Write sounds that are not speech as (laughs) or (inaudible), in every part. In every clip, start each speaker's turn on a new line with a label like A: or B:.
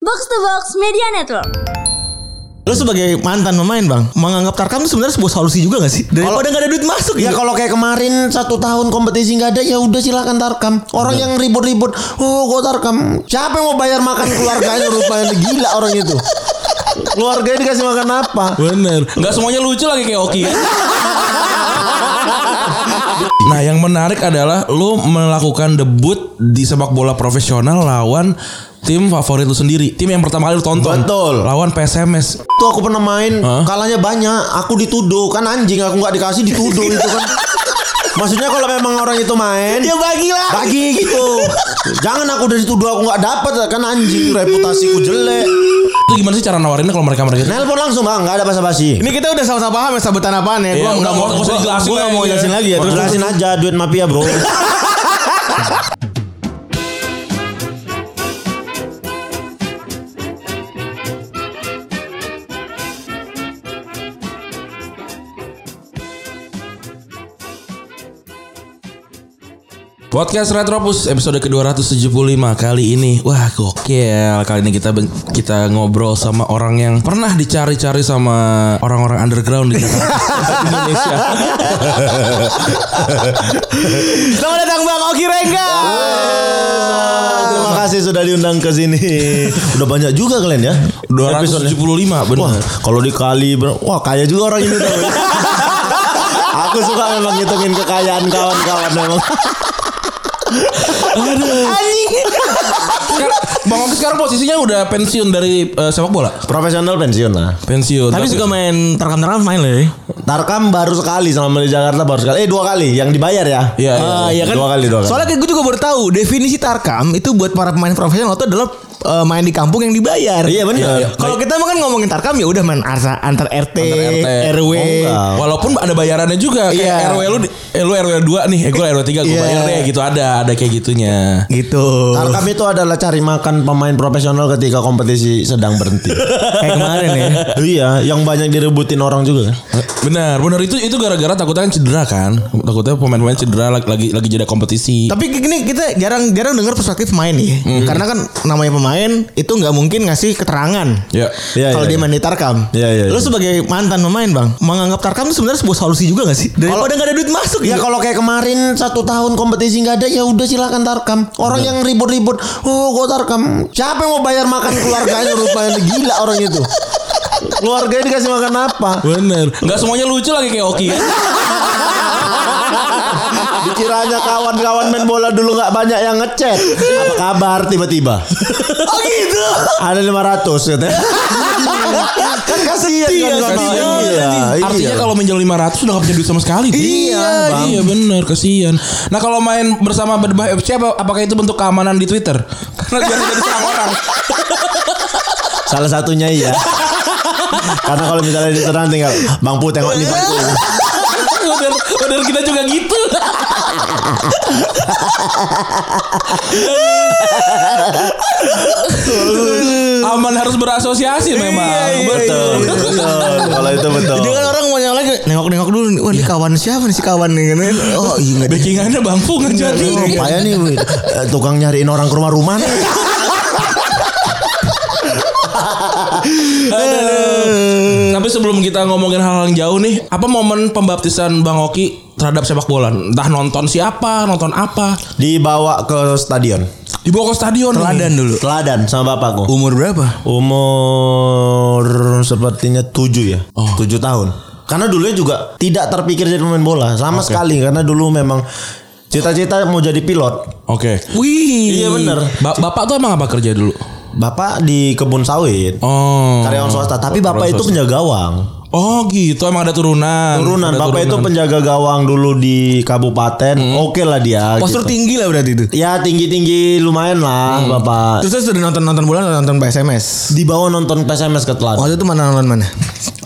A: Box to Box Media Network.
B: Lu sebagai mantan pemain bang Menganggap Tarkam itu sebenarnya sebuah solusi juga gak sih? Daripada nggak ada duit masuk
C: Ya
B: gitu.
C: kalau kayak kemarin satu tahun kompetisi nggak ada ya udah silakan tarkam.
B: Nah.
C: Orang yang ribut-ribut, oh gue tarkam. Siapa yang mau bayar makan keluarganya rupanya gila orang itu. Keluarganya dikasih makan apa?
B: Bener
D: Gak semuanya lucu lagi kayak Oki ya. (laughs) Nah yang menarik adalah Lu melakukan debut di sepak bola profesional Lawan tim favorit lu sendiri Tim yang pertama kali lu tonton
C: Betul.
D: Lawan PSMS
C: Tuh aku pernah main,
D: Hah?
C: kalahnya banyak. Aku dituduh kan anjing, aku nggak dikasih dituduh itu kan. Maksudnya kalau memang orang itu main,
B: Ya bagilah
C: bagi gitu. Jangan aku dari dituduh aku nggak dapat kan anjing, reputasiku jelek.
D: Itu gimana sih cara nawarinnya kalau mereka-mereka
C: Nelpon langsung bang, nggak ada basa-basi.
B: Ini kita udah sama-sama paham ya sabetan apaan ya
D: Iya,
B: Gua
D: udah,
B: nggak mau
D: nggak usah
B: gua-
D: dijelasin
B: gua nggak
D: lagi
B: mau
D: ya.
B: jelasin lagi ya
C: Mau
B: terus-
C: Jelasin aja duit mafia bro.
D: Podcast Retropus episode ke-275 kali ini Wah gokil Kali ini kita ben- kita ngobrol sama orang yang Pernah dicari-cari sama orang-orang underground di Jakarta
B: (laughs)
D: Indonesia
B: Selamat datang bang Oki Rengga
C: Ah, Terima kasih sudah diundang ke sini. Udah banyak juga kalian ya.
D: 275
C: Wah,
D: bener
C: kalau dikali ber- wah kaya juga orang ini tuh. Aku suka memang ngitungin kekayaan kawan-kawan memang.
D: Sekarang- Bang Oki sekarang posisinya udah pensiun dari eh, sepak bola.
C: Profesional pensiun nah. lah.
D: Pensiun.
B: Tapi suka main Tarkam-Tarkam main loh ya
C: Tarkam baru sekali sama di Jakarta baru sekali. Eh dua kali yang dibayar ya.
D: Iya, iya.
B: Ah, iya kan?
C: Dua kali, dua kali.
B: Soalnya kayak gue juga baru tahu definisi tarkam itu buat para pemain profesional itu adalah eh, main di kampung yang dibayar.
C: Iya, benar.
B: Iya, iya. Kalau kita mah kan ngomongin tarkam ya udah main arsa- antar RT,
D: RT.
B: RW.
C: Oh, enggak.
D: Walaupun ada bayarannya juga kayak
B: Iya.
D: RW lu di- eh, lu RW 2 nih, eh, gue RW 3 gue
B: Iya.
D: bayar deh gitu ada ada kayak gitunya.
B: gitu.
C: Tarkam itu adalah cari makan pemain profesional ketika kompetisi sedang berhenti.
B: (laughs) Kayak kemarin ya.
C: iya, yang banyak direbutin orang juga. kan.
D: Benar, benar itu itu gara-gara takutnya kan cedera kan. Takutnya pemain-pemain cedera lagi lagi, lagi jeda kompetisi.
B: Tapi gini kita jarang-jarang dengar perspektif pemain ya.
C: Hmm.
B: Karena kan namanya pemain itu nggak mungkin ngasih keterangan.
D: Ya.
C: Iya,
B: kalau
C: iya,
B: dia
C: iya.
B: main di tarkam,
C: Iya, iya,
B: Lu
C: iya.
B: sebagai mantan pemain bang, menganggap tarkam itu sebenarnya sebuah solusi juga gak sih? Daripada nggak ada duit masuk
C: Ya
B: gitu.
C: kalau kayak kemarin satu tahun kompetisi nggak ada ya udah silakan tarkam. Orang yang ribut-ribut, oh gue tarkam. Siapa yang mau bayar makan keluarganya rupanya gila orang itu. Keluarganya dikasih makan apa?
D: Bener. Gak semuanya lucu lagi kayak Oki ya.
C: Dikiranya kawan-kawan main bola dulu nggak banyak yang ngechat. Apa kabar tiba-tiba?
B: Oh gitu.
C: Ada 500 gitu. kan kasihan
B: Iya, kasihan.
C: kan kawan-kawan. Iya, iya.
D: Artinya kalau minjem 500 udah gak punya duit sama sekali.
C: Iya, Bang.
D: iya benar kasihan. Nah, kalau main bersama Bedbah FC apa- apakah itu bentuk keamanan di Twitter? Karena biar tidak diserang orang. (laughs)
C: Salah satunya iya. Karena kalau misalnya diserang tinggal Bang Pu tengok nih Bang Pu.
D: Order, order kita juga gitu. (laughs) Aman harus berasosiasi memang. Betul.
C: Iya. Betul, Kalau itu betul.
B: Jadi Iya, kan orang mau yang lagi nengok-nengok dulu nih. Wah, ini
C: Iya.
B: kawan siapa nih si kawan nih kan.
C: (laughs)
B: Oh, iya enggak deh.
D: Backingannya Bang Fu nggak jadi.
C: Oh, payah nih wih. Eh, tukang nyariin orang ke rumah-rumah nih.
D: Aduh. Hmm, Tapi sebelum kita ngomongin hal-hal yang jauh nih, apa momen pembaptisan Bang Oki terhadap sepak bola? Entah nonton siapa, nonton apa.
C: Dibawa ke stadion.
D: Dibawa ke stadion. nih.
B: Teladan dulu.
C: Teladan sama bapakku.
B: Umur berapa?
C: Umur sepertinya 7 ya.
D: Oh.
C: 7 tahun. Karena dulunya juga tidak terpikir jadi pemain bola sama sekali karena dulu memang cita-cita mau jadi pilot.
D: Oke.
B: Wih.
C: Iya bener.
D: Ba- bapak tuh emang apa kerja dulu?
C: Bapak di kebun sawit.
D: Oh.
C: Karyawan swasta, tapi bapak itu penjaga gawang.
D: Oh gitu emang ada turunan.
C: Turunan,
D: Ada
C: bapak itu penjaga gawang dulu di kabupaten. Oke lah dia.
B: Postur
C: gitu.
B: tinggi lah berarti
D: Iya.
B: itu.
C: Ya tinggi-tinggi lumayan lah bapak.
B: Terus terus udah nonton-nonton bola atau nonton SMS?
C: Dibawa nonton PSMS ke Telan.
B: Waktu itu mana nonton mana?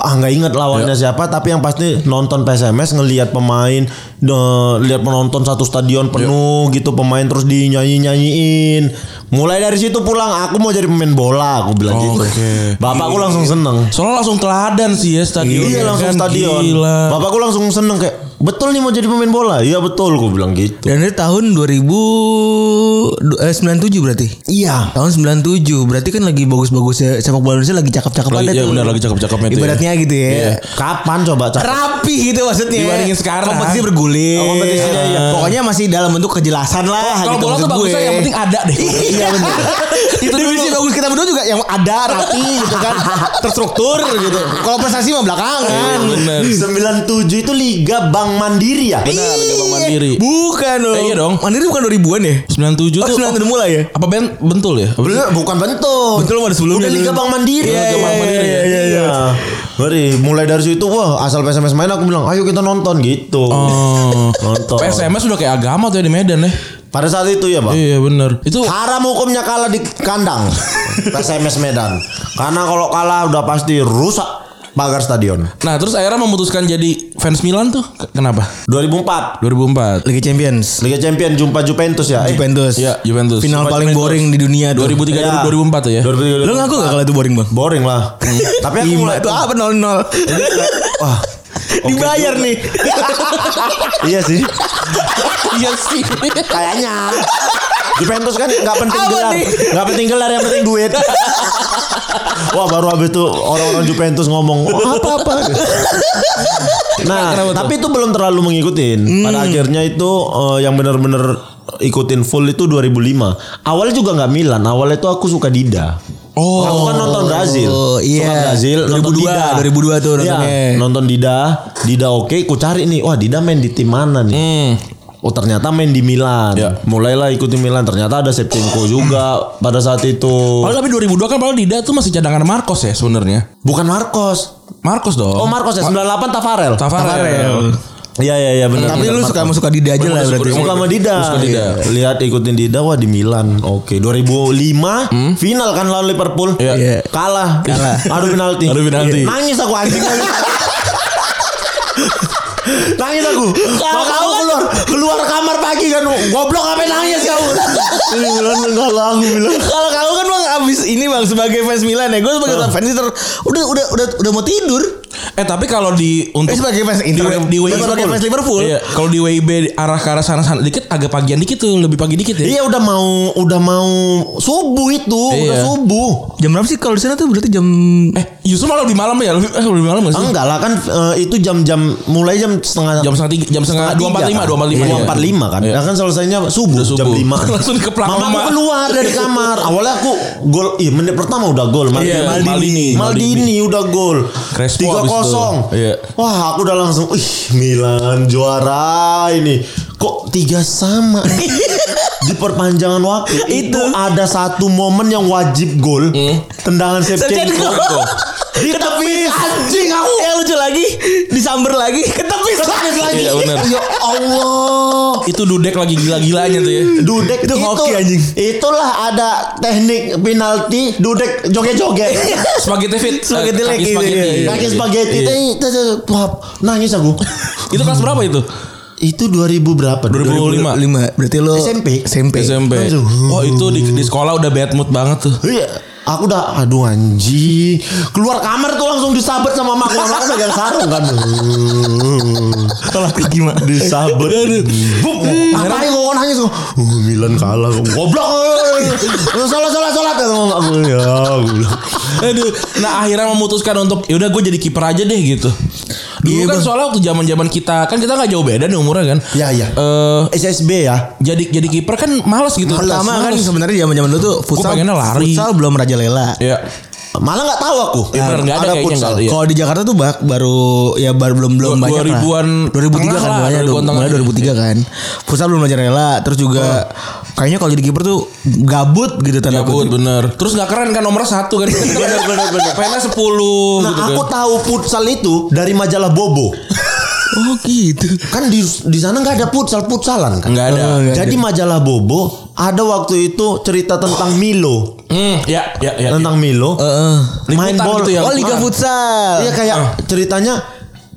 C: Ah nggak inget lawannya siapa, tapi yang pasti nonton PSMS ngelihat pemain, de- lihat penonton satu stadion penuh gitu pemain terus dinyanyi nyanyiin. Mulai dari situ pulang, aku mau jadi pemain bola, aku bilang gitu.
D: Oke.
C: Bapakku langsung seneng.
D: Soalnya langsung teladan sih ya stadion.
C: Iya langsung
D: Kan,
C: stadion.
D: Gila.
C: Bapakku langsung seneng kayak betul nih mau jadi pemain bola. Iya betul, aku bilang gitu.
B: Dan itu tahun 2000
E: lu du- eh, 97 berarti.
C: Iya.
E: Tahun 97 berarti kan lagi bagus-bagusnya sepak bola Indonesia lagi cakep-cakep
D: Lagi-
E: ada
D: iya,
E: tuh.
D: benar, lagi cakep-cakepnya tuh ya.
E: Ibaratnya gitu ya.
D: Iya.
C: Kapan coba? Cak?
E: Rapi gitu maksudnya.
D: Dibandingin sekarang.
E: Kompetisi bergulir.
C: Oh, kompetisinya, iya.
E: Pokoknya masih dalam bentuk kejelasan lah
D: Oh, Kalau
E: gitu
D: bola tuh
E: maksud
D: bagusnya
E: gue.
D: yang penting ada deh.
E: Iya
D: (laughs)
E: benar. itu divisi bagus kita berdua juga yang ada rapi gitu
D: (laughs)
E: kan terstruktur gitu. Kalau prestasi mah belakangan.
D: Bener.
C: 97 itu Liga Bank Mandiri ya?
D: Benar, Liga Bank Nah, Mandiri.
E: Bukan dong.
D: Eh, iya dong.
E: Mandiri bukan 2000-an ya?
D: 97
E: Oh,
D: tuh.
E: 90 mulai ya?
D: Apa ben bentul ya? Apa-
C: Bener, bukan bentuk.
E: Betul, ada sebelumnya
C: Udah Liga
E: dulu.
C: Bank Mandiri.
D: Iya, Liga Bank Mandiri.
C: Iya, iya, iya. Ngeri. mulai dari situ wah asal PSMS main aku bilang ayo kita nonton gitu.
D: Oh.
C: Nonton.
D: PSMS udah kayak agama tuh ya di Medan ya.
C: Pada saat itu ya, Bang.
D: Iya bener. Itu
C: Haram hukumnya kalah di kandang (laughs) PSMS Medan. Karena kalau kalah udah pasti rusak pagar stadion.
D: Nah terus akhirnya memutuskan jadi fans Milan tuh K- kenapa?
C: 2004
D: 2004
E: Liga Champions.
C: Liga Champion jumpa Juventus ya. Eh,
E: Juventus.
D: Iya, Juventus.
E: Final
D: Cuma
E: paling
D: Juventus.
E: boring di dunia tuh.
D: 2003
C: Iya.
D: 2004 tuh ya.
C: 2003.
E: Lo ngaku gak kalau itu boring, Bang?
C: boring lah. Tapi aku mulai
E: Itu apa 00? (laughs)
C: Wah,
E: Dibayar nih.
C: iya sih.
D: (laughs) Iya sih.
C: Kayaknya. Juventus kan nggak penting
E: Apa
C: gelar,
E: nih?
C: nggak penting gelar yang penting duit. Wah baru habis itu orang-orang Juventus ngomong "Wah, apa-apa.
D: Kenapa
C: Nah,
D: tuh?
C: tapi itu belum terlalu mengikutin.
E: Hmm.
C: Pada akhirnya itu eh, yang benar-benar ikutin full itu 2005. Awalnya juga nggak Milan, awalnya itu aku suka Dida.
D: Oh.
C: Aku kan nonton Brazil.
E: Oh, iya.
C: Suka Brazil, nonton
E: 2002,
C: Dida.
E: 2002 tuh
C: Iya,
E: nontonnya.
C: nonton Dida, Dida oke, ku cari nih. Wah, Dida main di tim
E: Iya.
C: mana nih?
D: Hmm.
C: Oh ternyata main di Milan.
D: Ya.
C: Mulailah ikuti Milan. Ternyata ada Shevchenko juga pada saat itu.
D: Padahal tapi 2002 kan padahal Dida tuh masih cadangan Marcos ya sebenarnya.
C: Bukan Marcos.
D: Marcos dong.
C: Oh Marcos ya 98 Tafarel.
D: Tafarel.
C: Iya iya iya benar.
E: Tapi
C: benar,
E: lu
C: Marcos.
E: suka suka Dida aja lah
D: Suka-
E: berarti.
C: suka sama Dida.
D: Suka Dida.
C: Iya. Lihat ikutin Dida wah di Milan. Oke, 2005 final kan lawan Liverpool.
E: Iya.
C: Kalah. (laughs)
E: Kalah.
C: Adu penalti.
D: Adu penalti.
C: Iya. Nangis aku anjing. nangis aku. Kalau kamu
E: kan
C: keluar keluar kamar pagi kan goblok apa nangis kamu. Ini Milan kalah aku bilang.
E: Kalau kamu kan bang abis ini bang sebager fans Milan ya, gue sebagai fans Inter udah udah udah udah mau tidur.
D: Eh tapi kalau di untuk
E: Eh, sebagai fans Inter,
C: kan.
D: di, di
E: lu
D: WIB,
E: sebagai fans Liverpool.
D: Iya, kalau di WIB arah ke arah sana sana dikit agak pagian dikit tuh, lebih pagi dikit ya.
C: Iya udah mau udah mau subuh itu, udah
D: Iya.
C: subuh.
E: Jam berapa sih kalau di sana tuh berarti jam
D: Eh, justru malah lebih malam ya, lebih, eh, lebih malam gak sih?
C: Enggak lah kan eh, itu jam-jam mulai jam setengah
D: Jam setengah tiga, jam setengah dua empat lima, dua empat lima.
C: dua empat lima kan
D: Iya.
C: ya kan selesainya subuh,
D: Udah
C: jam
D: subuh.
C: lima
D: (laughs) Langsung dikeplak
C: mama
D: mama.
C: aku keluar dari kamar awalnya aku gol iya menit pertama udah gol Maldini
D: Iya, Maldini.
C: Maldini,
D: Maldini
C: udah gol
D: Crespo
C: tiga
D: abis itu.
C: kosong
D: Iya.
C: wah aku udah langsung ih Milan juara ini kok tiga sama
D: (laughs)
C: di perpanjangan waktu itu, ada satu momen yang wajib gol
D: Hmm.
C: tendangan Shevchenko
E: Shevchenko.
C: di tepi anjing aku
E: yang Eh, lucu lagi disamber lagi ketepis
C: Ketepis lagi.
D: Iya, bener.
C: Ya Allah.
D: Itu Dudek lagi gila-gilanya tuh ya.
C: Dudek
E: Itu hoki, anjing.
C: Itulah ada teknik penalti Dudek joget-joget.
D: Spaghetti fit.
E: Spaghetti
D: eh,
E: leg
D: kaki
E: gitu,
C: (laughs)
D: spaghetti.
E: iya, iya.
C: ya. Kaki spaghetti
D: Iya.
C: teh, teh, teh, wah, nangis aku.
D: Itu kelas berapa itu?
C: Itu 2000 berapa?
D: 2005.
E: lima. Berarti lo
C: SMP.
E: SMP.
D: SMP.
C: Aduh.
D: Oh, itu di, di sekolah udah bad mood banget tuh.
C: Iya. Aku udah aduh anjing. Keluar kamar tuh langsung disabet sama mak. Mama aku megang sarung kan.
E: Tolak kaki mah.
C: Disabet. Bum. Apa yang kok nangis kok? Uh, Milan kalah. Goblok. Lu salah salah salah kata mama aku. Ya, aku bilang.
D: Aduh. Nah, akhirnya memutuskan untuk yaudah gue jadi kiper aja deh gitu. Dulu
E: Iya,
D: kan
E: Bang.
D: soalnya waktu zaman-zaman kita kan kita nggak jauh beda nih umurnya kan.
C: Iya, iya.
D: Eh,
C: SSB ya.
D: jadi jadi kiper kan malas gitu.
E: Pertama kan
D: Males.
E: sebenarnya zaman zaman dulu tuh futsal
D: pengennya lari.
E: futsal belum rajalela.
D: Iya.
C: Malah nggak tahu aku.
D: Iya, bener, nggak ada kayaknya,
C: futsal.
D: nggak ada, iya.
E: Kalau di Jakarta tuh bak, baru ya baru belum belum
D: Dua-
E: banyak lah.
D: 2000-an
E: 2003
D: tengah
E: kan
D: lah,
E: mulanya
D: 2000-an
E: dong, mulai
D: tengah.
E: 2003 kan. Futsal belum belajar rela, terus juga kayaknya kalau jadi kiper tuh gabut gitu tanda
C: Iya,
D: Oh. Gabut
E: kutip.
D: bener. Terus nggak keren kan nomor satu kan. bener bener bener. (laughs) Pengennya sepuluh.
C: Nah,
D: gitu
C: aku
D: kan.
C: tahu futsal itu dari majalah Bobo.
D: (laughs)
E: Oh gitu.
C: Kan di di sana nggak ada futsal futsalan kan.
D: Nggak ada.
E: Oh, nggak
C: Jadi majalah Bobo ada waktu itu cerita tentang Milo,
D: Hmm, ya, ya, ya.
C: tentang Milo.
E: Heeh.
C: main
D: Liputan
C: bola.
D: gitu ya.
E: Oh liga
C: Ah.
D: eh,
E: futsal.
C: Iya kayak ceritanya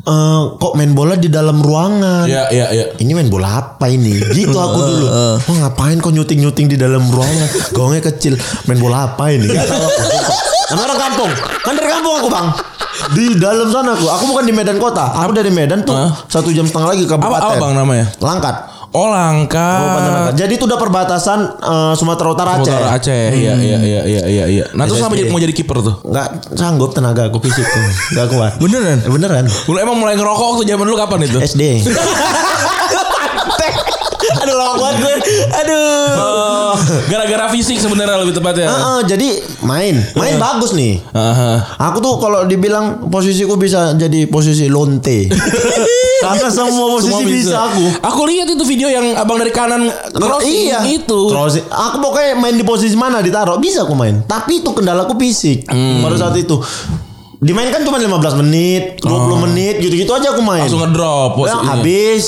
C: eh, kok main bola di dalam ruangan.
D: Ya, ya, ya.
C: Ini main bola apa ini? Gitu
D: (laughs)
C: aku dulu. Wah ngapain kok nyuting-nyuting di dalam ruangan? Gongnya kecil. Main bola apa ini? Gak tahu aku. Kan orang kampung. Kan dari kampung aku bang. Di dalam sana aku. Aku bukan di Medan kota. Aku dari Medan tuh. Satu jam setengah lagi ke
D: Apa, apa
C: kabupaten.
D: bang namanya?
C: Langkat.
D: Oh Langka.
C: Kabupaten Langkat. Jadi itu udah perbatasan eh, Sumatera Utara Aceh.
D: Utara Aceh. Iya iya iya iya iya iya. Nah terus
C: SSB.
D: sampai jadi, mau jadi kiper tuh.
C: Nggak sanggup tenaga aku fisik tuh. Nggak kuat.
D: Beneran?
C: Eh, Beneran.
D: Lu emang mulai ngerokok tuh zaman dulu kapan itu?
C: (laughs) SD.
E: Aduh lama banget gue. Aduh.
D: Eh, (laughs) gara-gara fisik sebenarnya lebih tepatnya.
C: Heeh, jadi main, main bagus nih.
D: Heeh.
C: Aku tuh kalau dibilang posisiku bisa jadi posisi
D: (laughs)
C: lonte. Karena semua posisi
D: Semua
C: bisa. aku.
D: Aku lihat itu video yang abang dari kanan crossing
C: iya.
D: itu.
C: Crossing. Aku pokoknya main di posisi mana ditaruh bisa aku main. Tapi itu kendalaku fisik.
D: Hmm.
C: Pada saat itu dimainkan cuma 15 menit, 20 menit gitu-gitu aja aku main.
D: Oh. Langsung ngedrop
C: Ya,
D: Iya. posisinya.
C: habis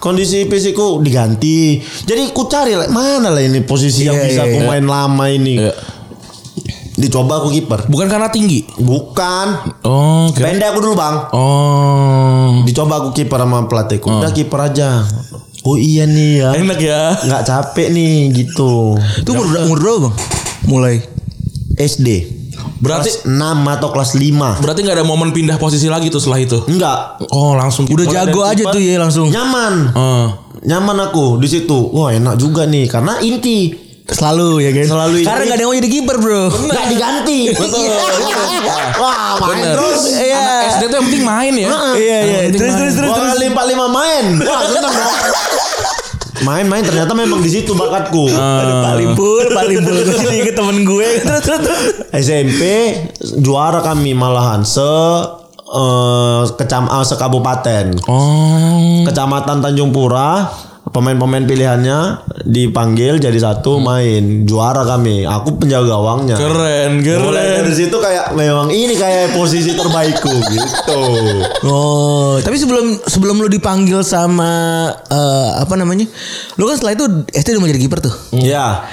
C: kondisi fisikku diganti. Jadi ku cari lah, mana lah ini posisi yang
D: Iya,
C: bisa
D: iya,
C: aku
D: iya.
C: main lama ini.
D: Iya.
C: Dicoba aku kiper.
D: Bukan karena tinggi.
C: Bukan.
D: Oh, kira-
C: Pendek aku dulu bang
D: Oh.
C: Dicoba aku kiper sama pelatihku Udah kiper aja Oh iya nih ya
D: Enak ya.
C: Nggak capek nih gitu
B: Itu umur, umur berapa bang? Mulai.
C: SD Kelas
D: Berarti
C: 6 atau kelas 5
D: berarti nggak ada momen pindah posisi lagi tuh setelah itu.
C: Enggak
D: Oh, langsung Ah.
B: Udah jago aja tuh ya langsung.
C: Nyaman
D: Heeh.
C: Nyaman aku di situ Wah enak juga nih Karena inti
B: Selalu ya
E: kan?
B: guys.
C: Selalu ini.
B: Karena gak ada yang mau jadi kiper bro.
C: Nggak diganti Iya.
D: Betul.
C: Wah main
D: Bener.
C: terus
B: Iya.
D: Anak SD tuh yang penting main ya.
B: Iya iya.
D: Yang penting
B: Terus
D: main.
B: terus terus
C: Wah
B: terus.
C: kali 45 main Wah seneng dong Main-main ternyata memang di situ bakatku
B: Aduh, Pak Limpul, Pak Limpul. Gue jadi inget temen gue. Terus terus terus.
C: SMP juara kami malahan se eh, kecam eh, sekabupaten.
D: Oh.
C: Kecamatan Tanjung Pura pemain-pemain pilihannya dipanggil jadi satu main juara kami. Aku penjaga gawangnya.
D: Hmm. Keren,
C: Mulai
D: keren.
B: kan.
C: dari situ kayak memang ini kayak posisi terbaikku (laughs) gitu.
D: Hmm.
B: Oh, tapi sebelum sebelum lu dipanggil sama eh, apa namanya? Lu kan setelah itu SD udah mau jadi kiper tuh.
C: Ya.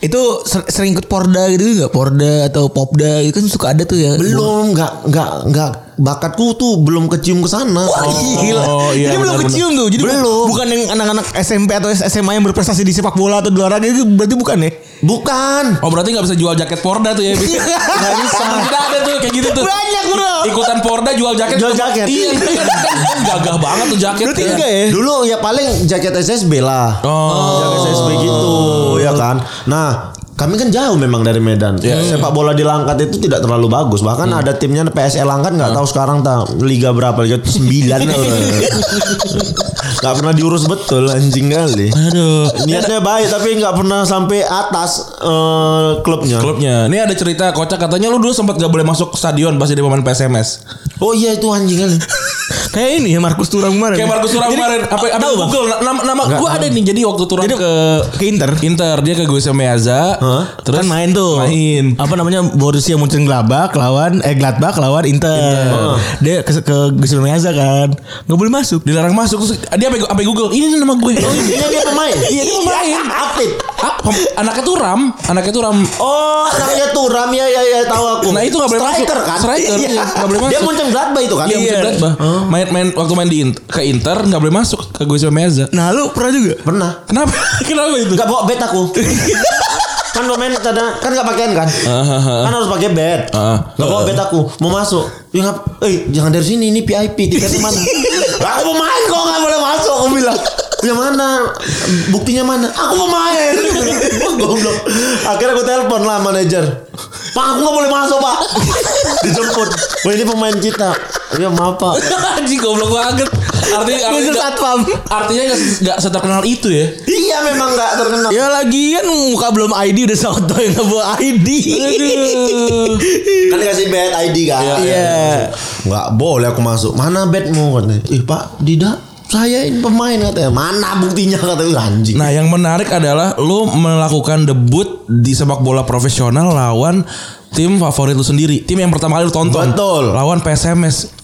B: Itu ser- sering ikut Porda gitu nggak? Porda atau Popda itu kan suka ada tuh ya.
C: Belum nggak nggak nggak bakatku tuh belum kecium ke sana.
B: Wah, (laughs)
C: (laughs)
B: gila.
D: Oh, iya,
B: Jadi belum
D: benar-benar.
B: kecium tuh. Jadi bu-
C: Belum.
B: bukan yang anak-anak SMP atau SMA yang berprestasi di sepak bola atau di olahraga itu berarti bukan ya?
C: Bukan.
D: Oh berarti gak bisa jual jaket Porda tuh ya
B: (laughs)
D: bisa. Gak bisa Tidak ada tuh kayak gitu tuh
B: Banyak, bro.
D: Ikutan Porda jual jaket
C: Jual jaket.
D: Iya (laughs) kan gagah banget tuh jaket
B: Berarti
D: ya.
B: enggak ya?
C: Dulu ya paling jaket SSB lah.
D: Oh
C: Jaga SSB gitu ya kan. Nah kami kan jauh memang dari Medan.
D: Iya,
C: Sepak bola di Langkat itu tidak terlalu bagus. Bahkan
D: Hmm.
C: ada timnya PSL Langkat nggak tahu sekarang ta, liga berapa liga 9
D: (laughs)
C: Gak pernah diurus betul anjing kali.
D: Aduh
C: Niatnya baik tapi nggak pernah sampai atas eh, klubnya.
D: Klubnya Ini ada cerita kocak Katanya lu dulu sempat gak boleh masuk stadion Pas jadi pemain PSMS
C: Oh iya itu anjing
D: (laughs)
C: kali.
B: Kayak ini ya Markus Turam kemarin.
D: Kayak Markus Turam kemarin apa apa
B: tahu, Bang?
D: Google na- nama, nama gue ada nih jadi waktu Turam ke
B: ke Inter.
D: Inter dia ke Gue Meaza
C: Hah?
B: Terus kan main tuh.
D: main
B: Apa namanya Borussia Mönchengladbach lawan eh Gladbach lawan Inter. Dia ke ke Gusman Meazza kan. Enggak boleh masuk.
D: dilarang masuk Terus dia apa apa Google ini nih nama gue oh,
C: Iya dia pemain.
D: iya dia pemain
C: Atlet.
D: Ah, pem- anaknya tuh Ram anaknya tuh Ram
C: Oh, namanya Turam ya ya ya tahu aku.
D: Nah, itu nggak boleh masuk.
C: Striker kan?
D: Striker,
C: Iya.
D: iya. Nggak boleh
C: Dia
D: masuk.
C: muncul Gladbach itu kan?
D: Iya, musim Gladbach. Main main waktu main di Int- ke Inter nggak boleh masuk ke Gue Meza.
B: Nah, lu pernah juga?
C: Pernah.
D: Kenapa? (laughs) Kenapa itu?
C: Gak bawa bed aku. (laughs) kan pemain tanda kan gak pakaian kan? Kan harus pakai bed.
D: Heeh.
C: Gak bawa bed aku. Mau masuk. Ya ngap, eh jangan dari sini ini VIP tiketnya mana? Lah, (laughs) aku pemain kok gak boleh masuk aku bilang. Ya mana? Buktinya mana? Aku (laughs) pemain. Wah, Goblok. Akhirnya aku telepon lah manajer. Pak aku gak boleh masuk pak. (laughs) Dijemput. Wah ini pemain kita. Ya maaf pak.
D: Anjing goblok banget. Artinya
B: Khusus
D: artinya
B: satpam.
D: artinya nggak nggak seterkenal itu ya.
C: Iya memang gak terkenal.
B: Ya lagian muka belum ID udah soto yang nggak bawa ID.
C: Kan dikasih bed ID kan.
B: Iya.
C: Nggak boleh aku masuk. Mana bedmu katanya? Ih Pak, tidak. Saya ini pemain katanya. Mana buktinya katanya "Ih, anjing.
D: Nah, yang menarik adalah lu melakukan debut di sepak bola profesional lawan tim favorit lu sendiri. Tim yang pertama kali lu tonton.
C: Betul.
D: Lawan PSMS.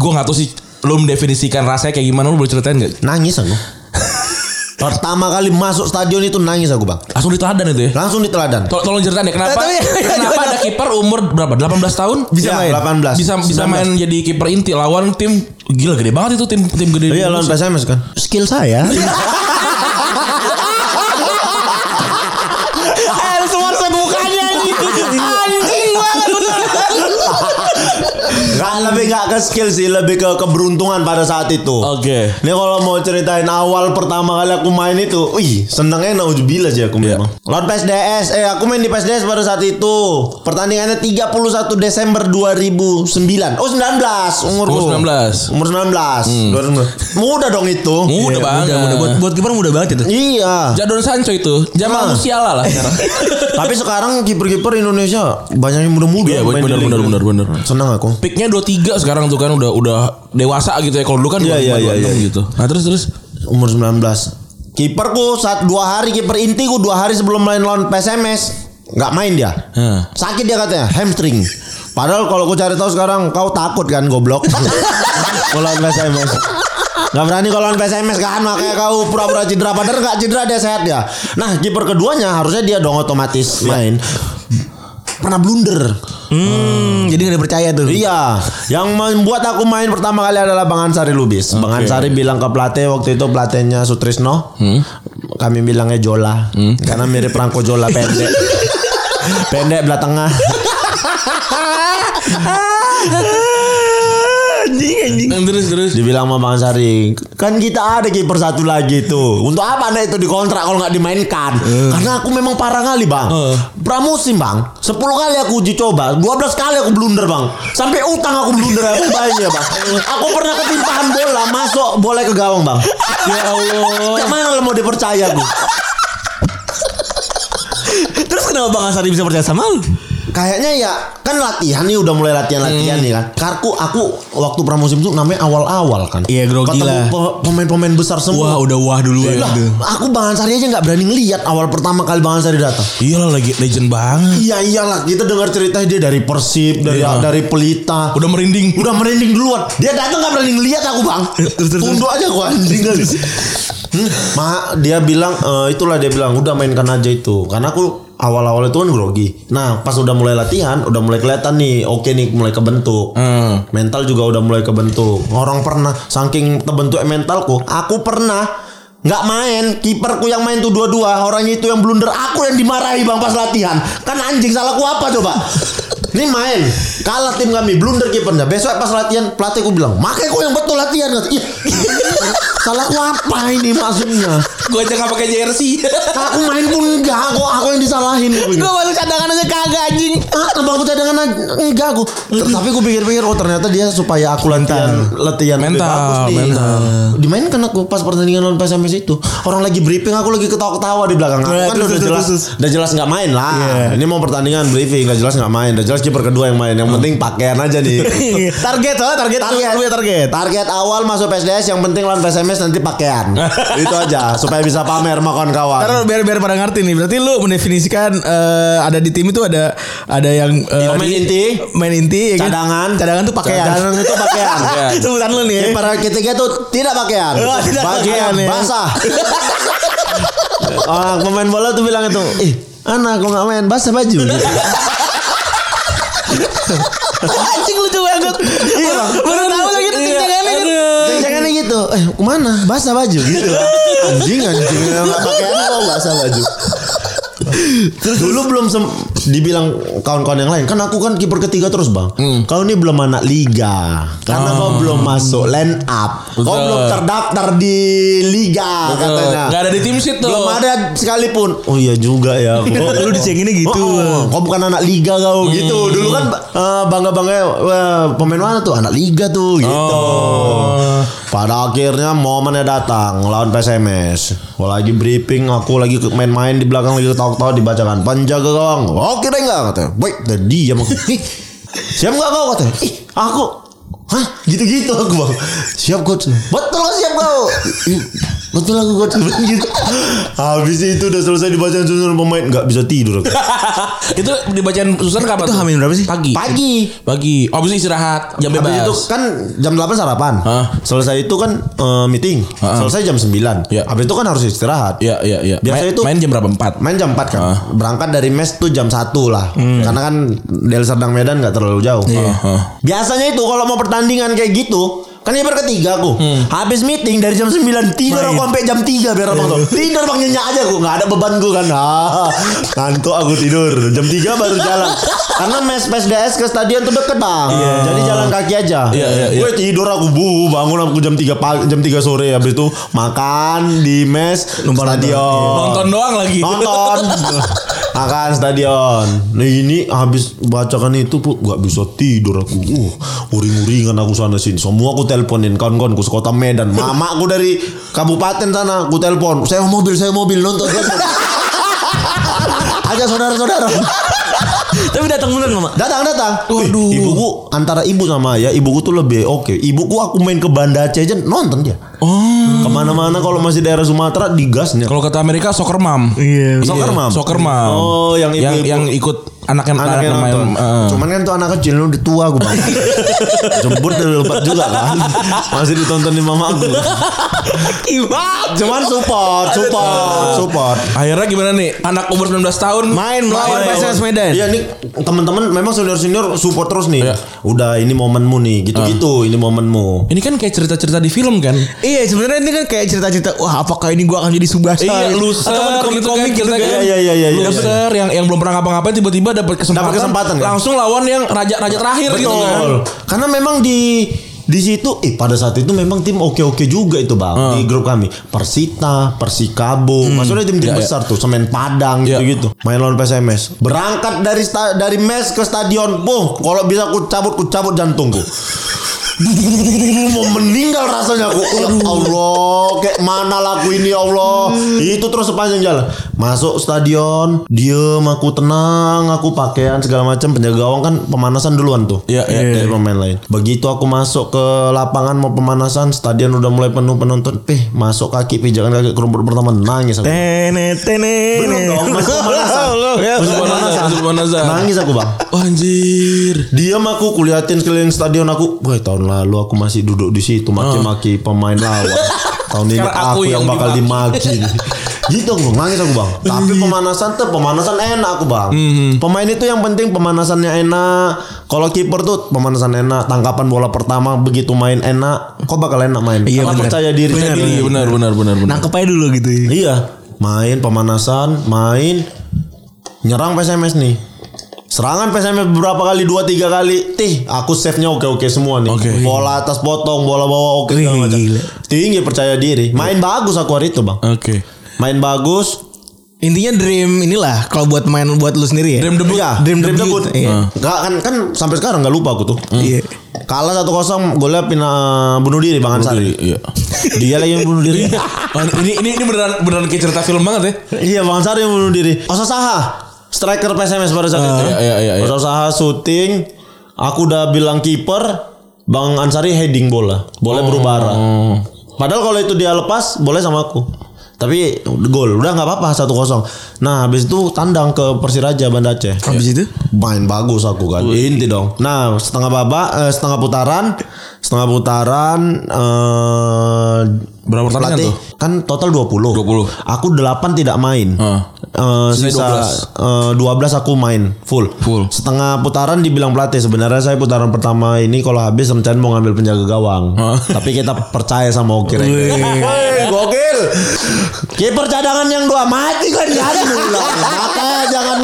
D: Gue nggak tahu sih lu mendefinisikan rasanya kayak gimana lu boleh ceritain nggak?
C: Nangis aku. Pertama kali masuk stadion itu nangis aku bang.
D: Langsung diteladan itu ya.
C: Langsung diteladan.
D: Tol- tolong ceritain deh
B: (laughs)
D: kenapa
B: Tapi-
D: kenapa ada kiper umur berapa 18 tahun
B: Bisa main.
C: 18.
D: bisa
C: 19.
D: bisa main jadi kiper inti lawan tim gila gede banget itu tim tim gede
C: Iya lawan PSMS kan. Skill saya.
B: (laughs) Eh, lu semua sebukanya ini. Anjing banget.
C: Gak lebih nggak ke skill sih, lebih ke keberuntungan pada saat itu.
D: Oke.
C: Ini kalau mau ceritain awal pertama kali aku main itu, wih senengnya naujubillah sih aku
D: Iya.
C: memang. Lawan PSDS, eh aku main di PSDS pada saat itu. Pertandingannya 31 Desember 2009. Oh 19 umurku.
D: Umur 19.
C: Umur 19. 2019. Muda dong itu.
D: Hmm. Muda
C: Iya.
D: banget.
B: Mudah, mudah. Buat, buat kiper mudah banget itu.
C: Iya.
D: Jadon Sancho itu Jamal
C: Ah.
D: Musiala lah sekarang.
C: Tapi sekarang kiper-kiper Indonesia banyak yang muda-muda.
D: Iya,
C: main di
D: bener,
C: liga.
D: bener, bener, bener.
C: Seneng aku.
D: Peaknya 23 sekarang tuh kan udah udah dewasa gitu ya. Kalau dulu kan
C: Iya, iya,
D: 25,
C: iya,
D: 26
C: iya.
D: gitu. Nah, terus terus
C: umur 19 kiperku saat dua hari kiper inti ku dua hari sebelum main lawan PSMS nggak main dia
D: Heeh.
C: sakit dia katanya hamstring padahal kalau ku cari tahu sekarang kau takut kan goblok (laughs) kalau lawan PSMS Gak berani kalau lawan PSMS kan Makanya kau pura-pura cedera Padahal gak cedera dia sehat ya Nah kiper keduanya harusnya dia dong otomatis main Pernah blunder
B: Hmm, jadi gak dipercaya tuh.
C: Iya, yang membuat aku main pertama kali adalah Bang Ansari Lubis. Bang Ansari bilang ke pelatih waktu itu pelatihnya Sutrisno,
B: Hmm?
C: kami bilangnya Jola, karena mirip Rangko Jola
B: (laughs)
C: pendek, pendek belah tengah.
B: Anjing anjing.
D: Nah, terus terus.
C: Dibilang sama Bang Ansari, kan kita ada kiper satu lagi tuh. Untuk apa anda itu dikontrak kalau nggak dimainkan?
B: Eh.
C: Karena aku memang parah kali bang. Pramusim bang, 10 kali aku uji coba, 12 kali aku blunder bang. Sampai utang aku blunder aku bayarnya bang. Aku pernah ketimpahan bola masuk bola ke gawang bang.
D: Ya Allah.
C: Kemana lo mau dipercaya gue?
B: Terus kenapa Bang Asari bisa percaya sama lu?
C: Kayaknya ya kan latihan nih udah mulai
B: Hmm.
C: latihan-latihan nih kan. Karku aku waktu pramusim tuh namanya awal-awal kan.
B: Iya, grogi
C: Ketemu
B: lah.
C: pe- pemain-pemain besar semua.
B: Wah, udah wah duluan
D: Iya.
C: Iya Lah,
B: gitu.
C: aku Bang Ansari aja nggak berani ngelihat awal pertama kali Bang Ansari datang.
D: Iyalah Iya lagi legend banget.
C: Iya iyalah, kita dengar cerita dia dari Persib, dari
D: Iya.
C: dari Pelita.
D: Udah merinding. (laughs)
C: Udah merinding duluan. Dia datang nggak berani ngelihat aku, (laughs) Bang. Tunduk aja gua anjing kali. Hmm, ma, dia bilang eh, itulah dia bilang udah mainkan aja itu. Karena aku awal-awal itu kan grogi. Nah, pas udah mulai latihan, udah mulai kelihatan nih, oke nih mulai kebentuk.
D: Hmm.
C: Mental juga udah mulai kebentuk. Orang pernah saking terbentuk mentalku, aku pernah nggak main kiperku yang main tuh dua-dua orangnya itu yang blunder aku yang dimarahi bang pas latihan kan anjing salahku apa coba ini main kalah tim kami blunder kipernya besok pas latihan pelatihku bilang makanya kau yang betul latihan Kata, (laughs) "Ih, salahku apa ini maksudnya
D: Gue aja gak pakai jersey.
C: aku main pun enggak aku aku yang disalahin aku ini.
B: baru cadangan aja kagak anjing.
C: Ah, abang aku cadangan aja. enggak aku. T- Tapi aku pikir-pikir oh ternyata dia supaya aku latihan latihan lebih
D: Mental,
C: bagus nih.
D: mental.
C: Nah, Dimainkan aku pas pertandingan lawan PSMS itu. Orang lagi briefing aku lagi ketawa-ketawa di belakang. Aku
B: Iya,
C: kan
B: terus,
C: udah
B: terus,
C: jelas
B: terus.
C: udah jelas nggak main lah. Ini mau pertandingan briefing nggak jelas nggak main. Udah jelas kiper kedua yang main. Yang penting pakaian aja nih.
B: target oh, target
C: Target.
B: Lu ya target.
C: Target awal masuk PSDS yang penting lawan PSMS nanti pakaian. itu aja supaya bisa pamer sama kawan-kawan.
B: Karena biar biar pada ngerti nih. Berarti lu mendefinisikan eh, ada di tim itu ada ada yang eh,
C: Pemain
B: di-
C: inti.
B: main inti ya kan?
C: Cadangan.
B: Cadangan tuh pakaian.
C: Cadangan (laughs) Iya. itu pakaian.
B: (laughs) Sebutan lu nih.
C: (laughs) Kiper ketiga tuh Eh. tidak pakaian.
B: Oh, tidak pakaian,
C: Bagian
B: ya.
C: basah. Orang Oh, pemain bola tuh bilang itu, "Ih, anak kok nggak main basah (laughs) baju."
B: Anjing lucu banget.
C: Iya, Bang.
B: Baru tahu lagi tuh cadangannya kan.
C: Jangan gitu. Eh, kemana? Basah baju gitu. Anjing anjing nggak pakaian kok basah baju. Dulu belum sem- dibilang kawan-kawan yang lain kan aku kan kiper ketiga terus bang. Kau ini belum anak liga karena kau belum masuk line up. Kau
D: Betul.
C: belum terdaftar di liga katanya.
D: Gak ada di tim sheet tuh.
C: Belum ada sekalipun. Oh iya juga (laughs) ya. Kok
B: (laughs) Lu dicenginnya gitu.
C: Oh, oh, kau bukan anak liga kau gitu. Dulu kan bangga bangga pemain mana tuh anak liga tuh gitu. Oh. Pada akhirnya momennya datang lawan PSMS. Gua lagi briefing, aku lagi ke- main-main di belakang lagi ketawa-ketawa dibacakan penjaga "Oh, gawang. Oke deh enggak katanya. Baik, dan diam aku. Ih, siap enggak kau katanya? Ih, aku Hah? Gitu-gitu aku bang Siap coach Betul kau siap kau Ih, Betul aku coach (laughs) gitu. Habis itu udah selesai dibacain susunan pemain Gak bisa tidur aku
D: itu dibacain Susan kapan?
B: Itu
D: tuh?
B: hamil berapa sih?
D: Pagi.
C: Pagi.
D: Pagi. Abis itu istirahat jam bebas.
C: Habis itu kan jam 8 sarapan.
D: Hah?
C: Selesai itu kan eh, meeting.
D: Heeh.
C: Selesai jam 9.
D: Iya.
C: Habis itu kan harus istirahat.
D: Iya iya iya.
C: Biasa
D: main,
C: itu-
D: main jam berapa? Empat.
C: Main jam 4 kan.
D: Heeh.
C: Berangkat dari mes tuh jam 1 lah.
D: Hmm.
C: Karena kan Del Serdang Medan nggak terlalu jauh.
D: Heeh.
C: Biasanya itu kalau mau pertandingan kayak gitu Kan nyebar ketiga aku.
D: Hmm.
C: Habis meeting dari jam 9 tidur aku sampai jam 3 biar abang
D: Iya.
C: tuh. Tidur bang nyenyak aja aku nggak ada beban gue kan. Ah, ngantuk aku tidur. Jam 3 baru jalan. Karena mes mes DS ke stadion tuh deket bang. Jadi jalan kaki aja.
D: Iya, iya, iya.
C: Gue tidur aku bu bangun aku jam 3 pagi jam 3 sore habis itu makan di mes stadion
D: Nonton doang lagi. (laughs)
C: nonton akan stadion nah ini habis bacakan itu put gak bisa tidur aku uh uring-uringan aku sana sini semua aku teleponin kawan-kawanku sekota Medan mamaku dari kabupaten sana aku telepon saya mau mobil saya mau mobil nonton
D: (laughs)
C: aja saudara-saudara
B: Tapi datang bener nggak mak?
C: datang datang waduh ibuku antara ibu sama ya ibuku tuh lebih oke ibuku aku main ke Banda Aceh aja nonton dia
D: Oh.
C: kemana-mana kalau masih daerah Sumatera digasnya
D: Kalau kata Amerika soccer mom.
B: Iya.
C: Soccer mom.
D: Iya. Soccer mom.
C: Oh, yang
D: yang,
C: ibu-ibu.
D: yang ikut anak yang
C: anak yang nonton.
D: eh.
C: Cuman kan tuh anak kecil lu udah tua gue bang. Jemput udah lebat juga kan. Masih ditontonin mama aku.
B: Imam.
C: Cuman support, support, support.
D: Akhirnya gimana nih? Anak umur 19 tahun
B: Main melawan
D: Main.
B: PSS Medan.
C: Iya nih teman-teman memang senior-senior support terus nih.
D: Iya.
C: Udah ini momenmu nih, gitu-gitu ini momenmu.
D: Ini kan kayak cerita-cerita di film kan?
B: Iya sebenarnya ini kan kayak cerita-cerita wah apakah ini gua akan jadi subasa
D: Iya,
B: atau ada
D: loser gitu kan,
B: komik-komik gitu,
D: cerita
B: kan.
D: kan.
C: Iya, iya, iya, iya.
D: Loser yang yang belum pernah ngapa-ngapain tiba-tiba dapat kesempatan,
C: Dapat kesempatan, kan?
D: langsung lawan yang raja-raja terakhir gitu kan.
C: Betul. Karena memang di di situ eh pada saat itu memang tim oke-oke juga itu Bang di grup kami. Persita, Persikabo, maksudnya tim-tim besar tuh, Semen Padang
D: Iya.
C: gitu-gitu. Main lawan PSMS. Berangkat dari sta- dari mes ke stadion. Boh, kalau bisa ku cabut ku cabut jantungku. mau meninggal rasanya aku ya Allah kayak mana laku ini ya Allah
D: Hmm.
C: itu terus sepanjang jalan masuk stadion diem aku tenang aku pakaian segala macam penjaga gawang kan pemanasan duluan tuh
D: Iya, iya,
C: dari pemain lain begitu aku masuk ke lapangan mau pemanasan stadion udah mulai penuh penonton peh masuk kaki pijakan kaki ke rumput pertama nangis
D: Eh,
C: aku
B: Tene tene.
C: Belum dong, masih
B: (laughs)
C: pemanasan. Masih pemanasan.
D: Masih pemanasan.
C: nangis aku bang
D: Wah, anjir.
C: Diam aku kuliatin keliling stadion aku. Wah, tahun lalu aku masih duduk di situ maki-maki pemain lawan. tahun ini
D: Sekarang
C: aku,
D: aku
C: yang
D: yang
C: bakal dimaki. gitu aku bang, nangis aku bang. Tapi pemanasan tuh pemanasan enak aku bang. Pemain itu yang penting pemanasannya enak. Kalau kiper tuh pemanasan enak, tangkapan bola pertama begitu main enak, kok bakal enak main.
B: Iya,
C: Karena
B: bener.
C: percaya diri.
D: Benar, benar, benar, benar, benar.
B: Nangkep aja dulu gitu. ya.
C: Iya, main pemanasan, main nyerang PSMS nih. Serangan PSMS beberapa kali, dua tiga kali. Tih, aku save-nya oke-oke semua nih.
D: Oke.
C: Bola atas potong, bola bawah oke segala
B: Wih,
C: macam.
B: gila.
C: Tinggi percaya diri. Main bagus aku hari itu, Bang.
D: Oke.
C: Main bagus.
B: Intinya dream inilah kalau buat main buat lu sendiri ya.
D: Dream debut.
C: Iya,
B: Dream debut. Iya.
C: Nggak, kan kan sampai sekarang nggak lupa aku tuh.
B: Iya.
C: Kalah 1-0 golnya pina bunuh diri Bang
D: Diri,
C: Ansari.
D: Iya.
C: Dia lagi yang bunuh diri.
B: Iya.
D: Oh, ini ini ini beneran beneran kayak cerita film banget ya.
C: Iya Bang Sari yang bunuh diri Osa Saha Striker PSMS pada saat itu
D: iya, iya, iya, iya.
C: Osa Saha syuting Aku udah bilang kiper Bang Ansari heading bola Bola
D: Oh.
C: berubah arah Padahal kalau itu dia lepas Boleh sama aku tapi gol udah nggak apa-apa 1-0. Nah, habis itu tandang ke Persiraja Banda Aceh.
B: Habis itu
C: Main bagus aku kan. Inti dong. Nah, setengah babak eh, setengah putaran, setengah putaran eh
D: Berapa pertandingan
C: pelatih-
D: tuh?
C: Kan total 20.
D: 20.
C: Aku 8 tidak main.
D: Heeh.
C: Eh, sisa eh, 12 aku main full.
D: Full.
C: Setengah putaran dibilang pelatih sebenarnya saya putaran pertama ini kalau habis rencana mau ngambil penjaga gawang.
D: Hmm.
C: (laughs) Tapi kita percaya sama Oke Renger. Woi, gokil. Kiper cadangan yang dua mati kan ya.
D: (laughs)
C: Makanya jangan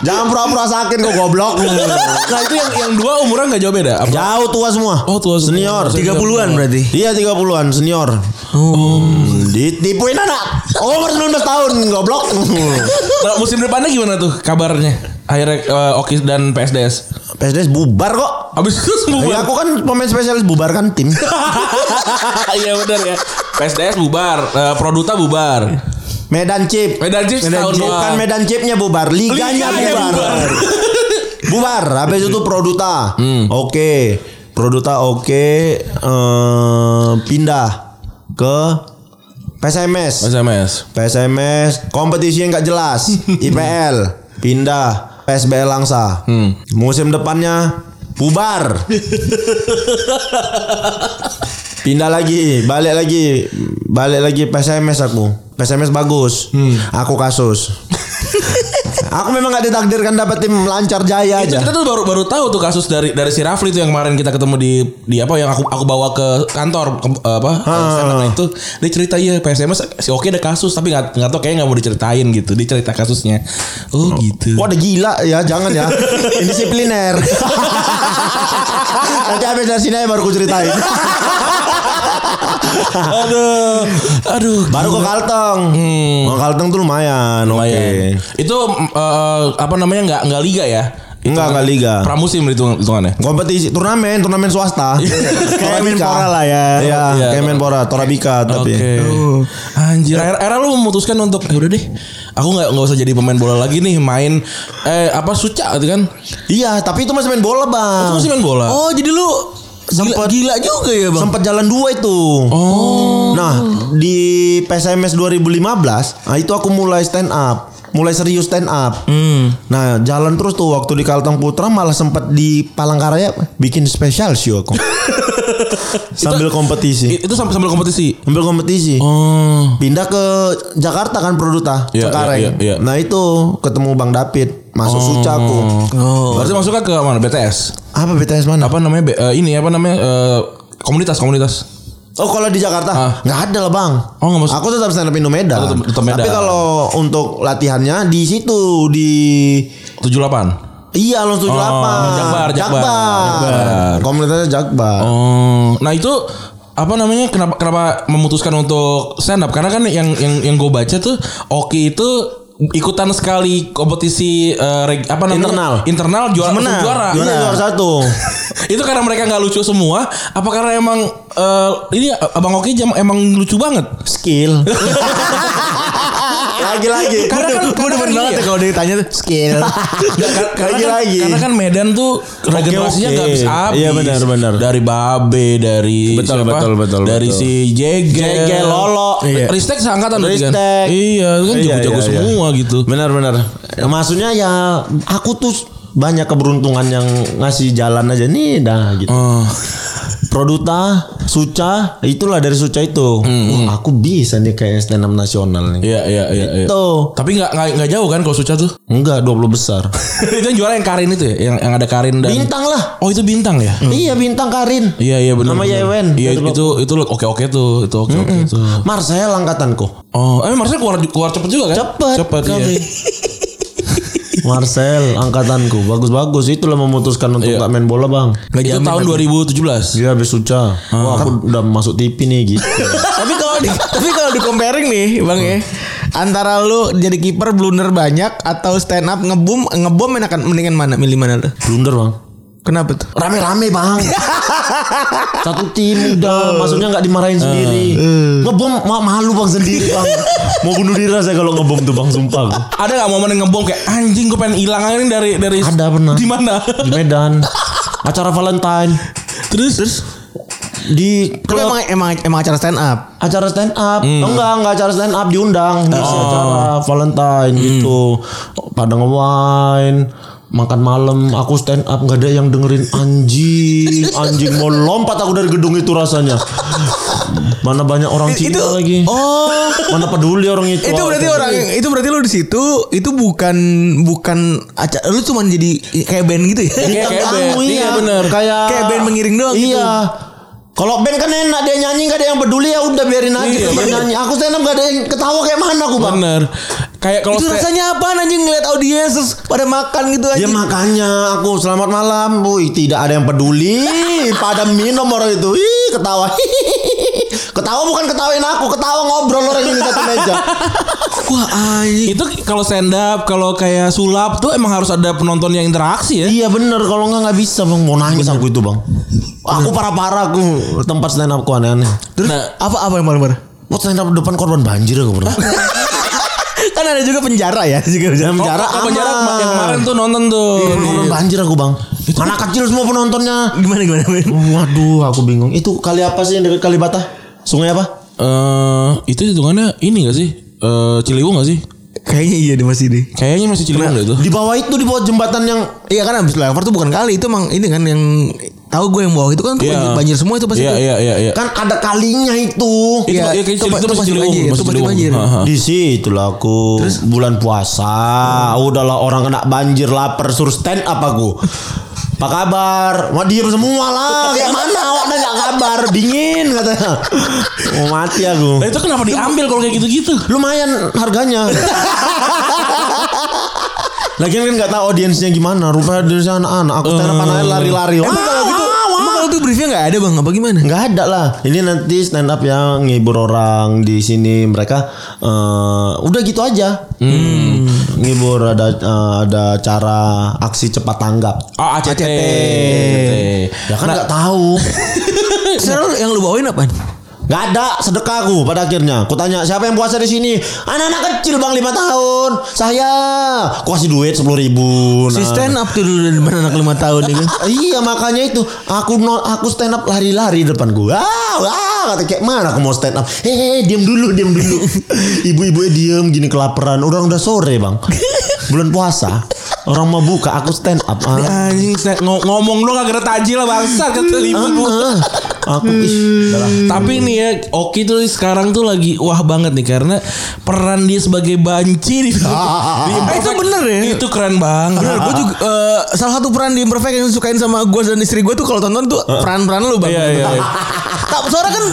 C: jangan pura-pura sakit kok
D: (laughs)
C: goblok.
D: Nah, itu yang yang dua umurnya nggak jauh beda. Apa?
C: Jauh tua semua.
D: Oh, tua semua.
C: senior.
B: 30-an berarti.
C: Iya 30-an senior.
D: Oh.
C: Hmm, Ditipuin anak. Oh, Umur 19 tahun goblok. (laughs)
D: Kalau musim depannya gimana tuh kabarnya? Akhirnya eh, Oki dan PSDS.
C: PSDS bubar kok.
D: Habis itu
C: Ya,
D: bubar.
C: aku kan pemain spesialis bubarkan tim.
D: (laughs) Iya benar ya. PSDS bubar, eh, Produta bubar.
C: Medan Chip.
D: Medan Chips setahun
C: Chip.
D: doang.
C: Bukan Medan Chipnya bubar, liganya,
D: Liganya
C: bubar.
D: bubar.
C: (laughs)
D: Hmm.
C: bubar. habis itu Produta. Oke. Produta oke eh, pindah ke
D: Iya.
C: PSMS.
D: SMS.
C: PSMS kompetisi yang gak
D: (laughs)
C: jelas IPL pindah PSBL Langsa
D: Hmm.
C: musim depannya bubar
D: (laughs)
C: pindah lagi balik lagi
D: Hmm. (laughs)
C: balik lagi PSMS aku PSMS bagus aku kasus Aku memang gak ditakdirkan dapat tim lancar jaya
D: Itu
C: aja.
D: Eh, kita tuh baru baru tahu tuh kasus dari dari si Rafli tuh yang kemarin kita ketemu di di apa yang aku aku bawa ke kantor ke- eh, apa
C: Ah.
D: stand-up itu dia cerita iya PSMS si Oke ada kasus tapi nggak nggak tahu kayaknya nggak mau diceritain gitu dia cerita kasusnya oh gitu
C: Wah udah gila ya jangan
D: (laughs)
C: ya Indisipliner Nanti habis dari sini aja baru ku ceritain
D: (laughs) aduh aduh
C: Baru ke Kalteng Ke Kalteng tuh lumayan Oke
D: Hmm. Lumayan. Itu mm, eh, apa namanya nggak nggak liga ya?
C: Enggak, nggak liga.
D: Pramusim hitung- hitungannya.
C: Kompetisi turnamen Turnamen
D: (laughs)
C: swasta Kayak Menpora lah ya Iya
D: Iya.
C: Kayak Menpora Torabika tapi
D: Anjir, akhirnya akhirnya lu memutuskan untuk ya udah deh, aku nggak nggak usah jadi pemain bola lagi nih, main eh apa suca gitu kan?
C: Iya tapi itu masih main bola bang
D: Masih main bola.
B: Oh jadi lu gila, gila juga ya bang.
C: Sempat jalan dua itu. Oh. Nah, di PSMS 2015, nah itu aku mulai stand up, mulai serius stand up.
D: Hmm.
C: Nah, jalan terus tuh waktu di Kalteng Putra malah sempat di Palangkaraya bikin special show
D: (laughs)
C: aku. sambil kompetisi.
D: I- Itu sambil, sambil kompetisi.
C: Sambil kompetisi.
D: Oh.
C: Pindah ke Jakarta kan Produta,
D: Iya,
C: Cengkareng.
D: iya, iya, iya.
C: Nah, itu ketemu Bang David, masuk sucaku.
D: Oh. Berarti masuknya ke mana? BTS.
C: Apa BTS mana?
D: Apa namanya? B- eh, ini apa namanya? Eh, komunitas komunitas.
C: Oh kalau di
D: Ah.
C: Jakarta nggak ada lah bang.
D: Oh, nggak masuk.
C: Aku tetap stand up Indo Medan.
D: Oh, tetap- tetap Medan.
C: Tapi kalau untuk latihannya di situ di
D: 78.
C: iya Alonso 78.
D: Oh, Jakbar, Jakbar. Jakbar.
C: Komunitasnya Jakbar.
D: Oh, nah itu apa namanya kenapa kenapa memutuskan untuk stand up karena kan yang yang yang gue baca tuh Oki itu ikutan sekali kompetisi eh, reg- apa namanya
C: Internal.
D: internal juara langsung juara,
C: Iya,
D: Iya.
C: juara
D: (laughs)
C: satu.
D: itu karena mereka nggak lucu semua apa karena emang eh, ini abang Oki jam, emang
C: (laughs)
D: lucu banget
C: Skill. Lagi-lagi.
D: Karena kan-
C: Gua demen banget
D: karena kan gini
C: ya
D: ya.
C: kalau ditanya tuh skill.
D: karena kan,
C: Lagi-lagi.
D: karena kan Medan tuh regenerasinya
C: oke.
D: nggak habis habis
C: Iya, benar, benar.
D: dari Babe dari
C: Betul,
D: siapa?
C: betul, betul,
D: dari
C: betul.
D: si Jegel
C: Jegel, Lolo. Iya.
D: Ristek seangkatan berarti kan?
C: Ristek.
D: iya itu kan
C: Iya,
D: jago-jago
C: iya, iya.
D: semua gitu
C: Benar-benar. Ya, maksudnya ya aku tuh banyak keberuntungan yang ngasih jalan aja nih dah gitu.
D: Oh.
C: Produta, Suca, itulah dari Suca itu.
D: Hmm.
C: Wah, aku bisa nih kayak stand up nasional nih.
D: Iya iya iya. iya.
C: Tuh.
D: Tapi nggak nggak nggak jauh kan kalau Suca
C: (laughs)
D: tuh?
C: Enggak, 20 besar.
D: itu yang juara yang Karin itu ya, yang yang ada Karin dan
C: Bintang lah.
D: Oh itu bintang ya?
C: Iya, bintang Karin.
D: Iya iya
C: Nama
D: benar. benar.
C: Yewen.
D: Iya itu itu, oke oke tuh, itu oke oke tuh.
C: Marcel angkatanku.
D: Oh, eh Marcel keluar keluar cepet juga kan?
C: Cepet.
D: Cepet iya. (laughs)
C: Kami. Marcel angkatanku. Bagus-bagus itulah memutuskan untuk
D: Iya.
C: nggak main bola, Bang.
D: Itu tahun 2017.
C: Dia habis Suca.
D: Ah.
C: Wah, aku udah masuk TV nih
D: (laughs)
C: gitu.
B: tapi kalau di tapi kalau di comparing nih bang ya antara lu jadi kiper blunder banyak atau stand up ngebom ngebom enakan mendingan mana milih mana lu?
C: Blunder, Bang.
B: Kenapa tuh?
C: Rame-rame, (laughs) Bang. Satu tim udah maksudnya nggak dimarahin sendiri.
B: Hmm.
C: Ngebom ma- malu Bang sendiri, Bang. Ah. Mau bunuh diri saya kalau ngebom tuh, Bang, sumpah. gua.
D: Ada gak momen yang ngebom kayak anjing gue pengen hilang aja nih dari dari
C: Ada pernah.
D: Di mana?
C: Di Medan. Acara Valentine
D: Terus terus
C: di
B: Tapi
C: klub
B: emang Hmm. emang emang acara stand up.
C: acara stand up enggak enggak acara stand up diundang ngisi
B: Ah.
C: acara Valentine
B: Hmm.
C: gitu pada ngewain makan malam aku stand up nggak ada yang dengerin anjing anjing mau lompat aku dari gedung itu rasanya mana banyak orang Cina lagi
B: Oh,
C: mana peduli orang itu
B: itu berarti orang itu berarti lu di situ itu bukan bukan acara lu cuman jadi kayak band gitu ya.
D: Kayak- kayak band.
C: iya,
D: Iya, bener.
C: kayak
B: Kayak band mengiring doang
C: iya.
B: gitu.
C: Kalau band kan enak dia nyanyi gak ada yang peduli ya udah biarin aja
D: Iya,
C: dia
D: bener.
C: nyanyi. Aku stand up gak ada yang ketawa kayak mana aku bang.
D: bener. Kayak kalau
B: itu
D: sta-
C: Iya,
B: rasanya apa anjing ngeliat audiens terus pada makan gitu
C: Ya
B: anjing.
C: makanya aku selamat malam, Wih tidak ada yang (laughs) peduli pada minum orang itu. Ih ketawa. (laughs) ketawa bukan ketawain aku, ketawa ngobrol orang ini satu (laughs) meja.
B: Wah, anjing.
D: itu kalau stand up, kalau kayak sulap tuh emang harus ada penonton yang interaksi ya.
C: iya bener kalau nggak nggak bisa bang mau nangis aku itu bang. Aku parah-parah aku tempat stand upku aneh-aneh.
B: Terus
D: Nah.
B: apa apa yang paling parah?
C: Mau stand up depan korban banjir aku (laughs) pernah.
B: (laughs) kan ada juga penjara ya juga penjara.
C: Dalam penjara
D: Kalau penjara
C: aman.
D: yang kemarin tuh nonton tuh.
C: Korban banjir aku bang. Anak kecil semua penontonnya.
B: Gimana gimana? Ben?
C: Oh, Waduh aku bingung. Itu kali apa sih yang dekat Kalibata? Sungai apa?
D: Eh, itu hitungannya ini gak sih? Eh, Ciliwung gak sih?
B: Kayaknya iya deh masih deh.
D: Kayaknya masih Ciliwung deh itu.
C: Di bawah itu di bawah jembatan yang
B: Iya kan abis flyover tuh bukan kali itu emang ini kan yang Tahu gue yang bawah itu kan tuh
D: Iya.
B: banjir, banjir semua itu pasti.
D: Iya
B: tuh.
D: iya iya iya.
C: Kan ada kalinya itu.
D: Itu
B: Iya,
D: ya, kayak
B: itu
D: Ciliwung,
B: pa- itu
D: masih
B: pasti
D: Ciliwung,
B: banjir,
D: masih
B: itu pasti
D: Ciliwung.
B: banjir.
D: Ha, ha.
C: Di situ lah aku bulan puasa, udahlah orang kena banjir lapar suruh stand up aku. Apa kabar? Wah diem semua lah. Kayak mana awak nggak kabar? Dingin (laughs) katanya. Mau mati aku.
D: Nah, itu kenapa diambil kalau kayak gitu-gitu?
C: Lumayan
B: (laughs)
C: harganya. Lagian kan nggak tahu audiensnya gimana. Rupanya audiensnya anak-anak. Aku stand up anak lari-lari. Oh, Wah,
B: Emang kalau gitu,
C: wah, wah.
B: emang kalau itu briefnya nggak ada bang, apa gimana?
C: Nggak ada lah. Ini nanti stand up yang ngibur orang di sini mereka eh, udah gitu aja.
B: Hmm.
C: Hmm. Ngibur ada eh, ada cara aksi cepat tanggap.
D: Oh, ACT.
C: Ya kan
B: Nah.
C: nggak tahu.
B: (laughs) Sekarang yang lu bawain apaan?
C: Nggak ada sedekah aku pada akhirnya. Aku tanya siapa yang puasa di sini? Anak-anak kecil bang 5 tahun. Saya. Aku kasih duit sepuluh ribu. Nah.
B: Si stand up tuh dulu dari mana anak lima tahun ya kan?
C: Iya makanya itu aku no, aku stand up lari-lari di depan gua. Ah, ah, kata kayak mana aku mau stand up. Hehe, diam dulu, diam
D: (laughs)
C: dulu. Ibu-ibunya diam gini kelaparan. Orang udah sore, Bang. Bulan puasa. Orang mau buka, aku stand up. Ah,
D: Anjing, Seth, ngo- ngomong doang kagak ada tajil lah bangsa kata ibu.
C: ah, aku
D: Hmm.
C: ih, udah lah.
D: Tapi nih ya Oki tuh sekarang tuh lagi wah banget nih karena peran dia sebagai (laughs) banci di film. di Imperfect.
B: itu bener ya?
D: Eh, Itu keren banget.
B: Bener, gue
D: Ah.
B: juga eh, salah satu peran di Imperfect yang disukain sama gue dan istri gue tuh kalau tonton tuh peran-peran lu bang.
D: Iya, iya,
B: (laughs)
D: iya.
B: Tak suara kan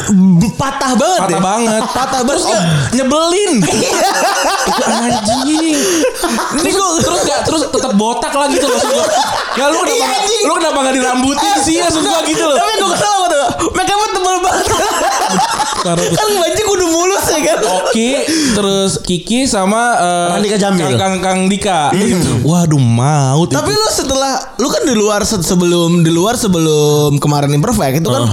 B: b- patah banget.
D: Patah
B: ya.
D: banget.
B: Patah banget.
D: Terus kayak nyebelin. (laughs) Itu anjing.
B: Ini gue
D: Terus gak terus tetap botak lagi tuh maksud gue. Ya lu kenapa nggak- lu kenapa gak dirambutin sih maksud gue gitu loh.
B: Tapi gue kesel sama tuh. Make up tebel banget.
D: Taruh tuh.
B: kan banci kudu mulus ya kan.
D: Oki terus Kiki sama eh,
C: Randika Jamil.
D: Kang Kang, Kang Dika. Waduh maut.
B: Hmm. Tapi lu setelah lu kan di luar se- sebelum di luar sebelum kemarin Imperfect itu kan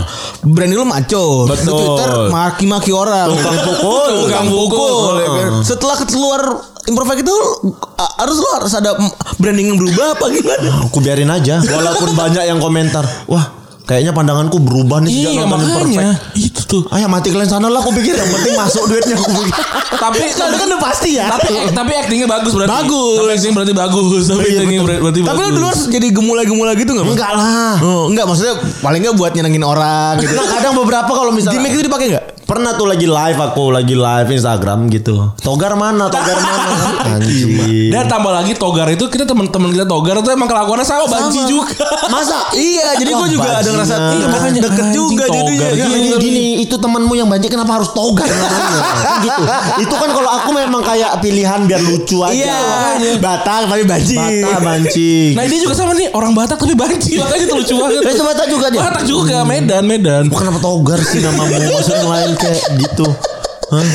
B: brand lu maco. Di
D: Ah. Betul.
B: Twitter maki-maki orang.
C: Tukang pukul.
B: tukang
D: Tukang
B: pukul.
D: pukul, ah.
B: ya kan? Setelah keluar Imperfect itu a- harus lu harus ada branding yang berubah apa gimana?
C: aku biarin aja. Walaupun banyak yang komentar, wah, kayaknya pandanganku berubah nih sejak
D: Iya
C: nonton Imperfect.
D: makanya itu tuh.
C: Ayo mati kalian sana lah aku pikir yang penting masuk duitnya aku pikir.
D: Tapi
B: Nah, itu kan udah pasti ya.
D: tapi Eh, tapi actingnya bagus berarti.
B: Bagus.
D: Tapi acting berarti bagus. Tapi
C: Iya,
D: actingnya
C: betul.
D: ber- berarti
B: Tapi
D: bagus.
B: lu di luar jadi gemula-gemula gitu gak?
C: Enggak lah.
B: Oh, enggak maksudnya paling enggak buat nyenengin orang gitu. (laughs)
C: Nah, kadang beberapa kalau misalnya
B: Gimik itu dipakai enggak?
C: Pernah tuh lagi live aku lagi live Instagram gitu. Togar mana? Togar mana? (laughs) Iya.
B: Iya.
C: Anjing.
D: Dan tambah lagi Togar itu kita teman-teman kita Togar itu emang kelakuannya sama banci juga. Oh,
C: Masa?
D: (laughs)
B: Iya, jadi gue juga ada ngerasa
C: bajingan.
B: iya, makanya
D: Anjing,
B: deket juga jadinya.
D: togar.
B: ya.
C: Iya, Gini, gini, gini, itu temanmu yang banjir kenapa harus togar (laughs) namanya? Kan gitu. Itu kan kalau aku memang kayak pilihan biar lucu aja.
B: Iya, batal tapi banci.
C: (laughs) Bata banci. Nah,
D: Nah dia juga sama nih orang Batak tapi banci (laughs) makanya itu lucu banget.
B: Iya,
C: Itu Batak juga dia?
D: Batak juga Medan Medan.
C: Bukan kenapa togar sih namamu? Maksudnya yang lain kayak gitu. Hah?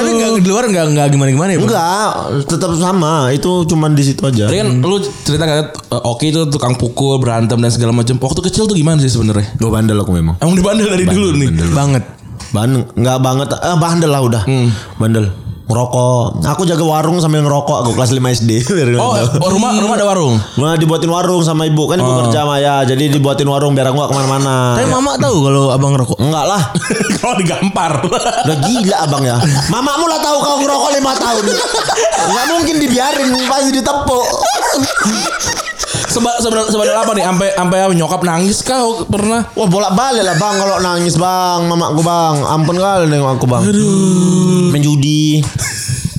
B: Tapi enggak di luar enggak enggak gimana-gimana ya. Bang?
C: Enggak, tetap sama. Itu cuman di situ aja.
D: Tadi Hmm. kan
B: Hmm.
D: lu cerita kan eh, Oki itu tukang pukul berantem dan segala macam. Waktu kecil tuh gimana sih sebenarnya?
C: Gue bandel aku memang.
D: Emang dibandel dari dulu nih.
B: Banget.
C: Ban nggak banget eh, bandel lah udah. Bandel. Ngerokok. Aku jaga warung sambil ngerokok aku kelas 5 SD. (laughs) Biar
D: Oh,
C: kalian tahu.
D: oh, rumah rumah ada warung.
B: (laughs)
C: Nah, dibuatin warung sama ibu kan ibu kerja sama ya. Jadi dibuatin warung biar aku gak kemana-mana.
B: Tapi mama tahu kalau abang ngerokok.
C: Enggak lah.
D: Kalau digampar.
C: Udah gila abang ya. Mamamu lah tahu kau ngerokok 5 tahun. Enggak mungkin dibiarin pasti ditepuk.
D: Seba, sebadal, sebadal apa nih? Sampai sampai nyokap nangis kah pernah?
C: Wah bolak-balik lah bang kalau nangis bang mamaku bang ampun kali nengok aku bang. Aduh. Main judi.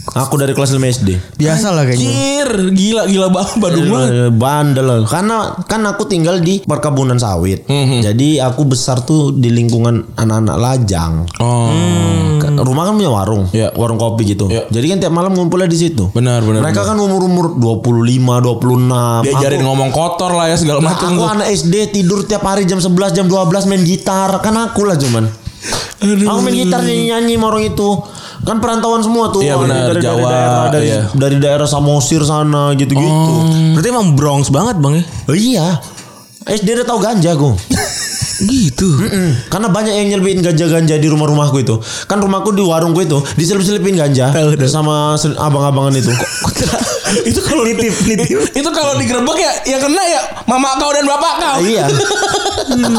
C: Aku dari kelas 5 SD.
B: Biasa lah kayaknya.
D: Anjir, gila gila banget Badung banget.
C: Eh, Bandel karena kan aku tinggal di perkebunan sawit.
D: Mhm.
C: Jadi aku besar tuh di lingkungan anak-anak lajang.
D: Oh,
C: Kan Rumah kan punya warung,
D: Iya.
C: warung kopi gitu.
D: Iya.
C: Jadi kan tiap malam ngumpulnya di situ.
D: benar benar.
C: Mereka kan umur-umur 25, 26.
D: diajarin
C: Aku-
D: ngomong kotor lah ya segala
C: Nah,
D: macam
C: aku
D: tuh.
C: anak SD tidur tiap hari jam 11 jam 12 main gitar kan aku lah cuman aku main gitar nyanyi nyanyi orang itu kan perantauan semua tuh
D: Iya,
C: orang
D: benar.
C: dari,
D: Jawa,
C: dari daerah dari,
D: iya. Oh.
C: dari daerah Samosir sana gitu gitu
D: Hmm.
B: Berarti emang Bronx banget bang ya.
C: Oh, iya SD udah tahu ganja aku
B: Gitu.
D: Hmm.
C: Mm-mm. Karena banyak yang nyelipin ganja-ganja di rumah-rumahku itu. Kan rumahku di warungku itu diselip-selipin ganja
B: Eh, udah.
C: sama se- abang-abangan itu.
B: (laughs) itu kalau nitip nitip.
D: Itu kalau digerebek ya yang kena ya mama kau dan bapak kau.
C: Ah,
D: (laughs)
C: iya.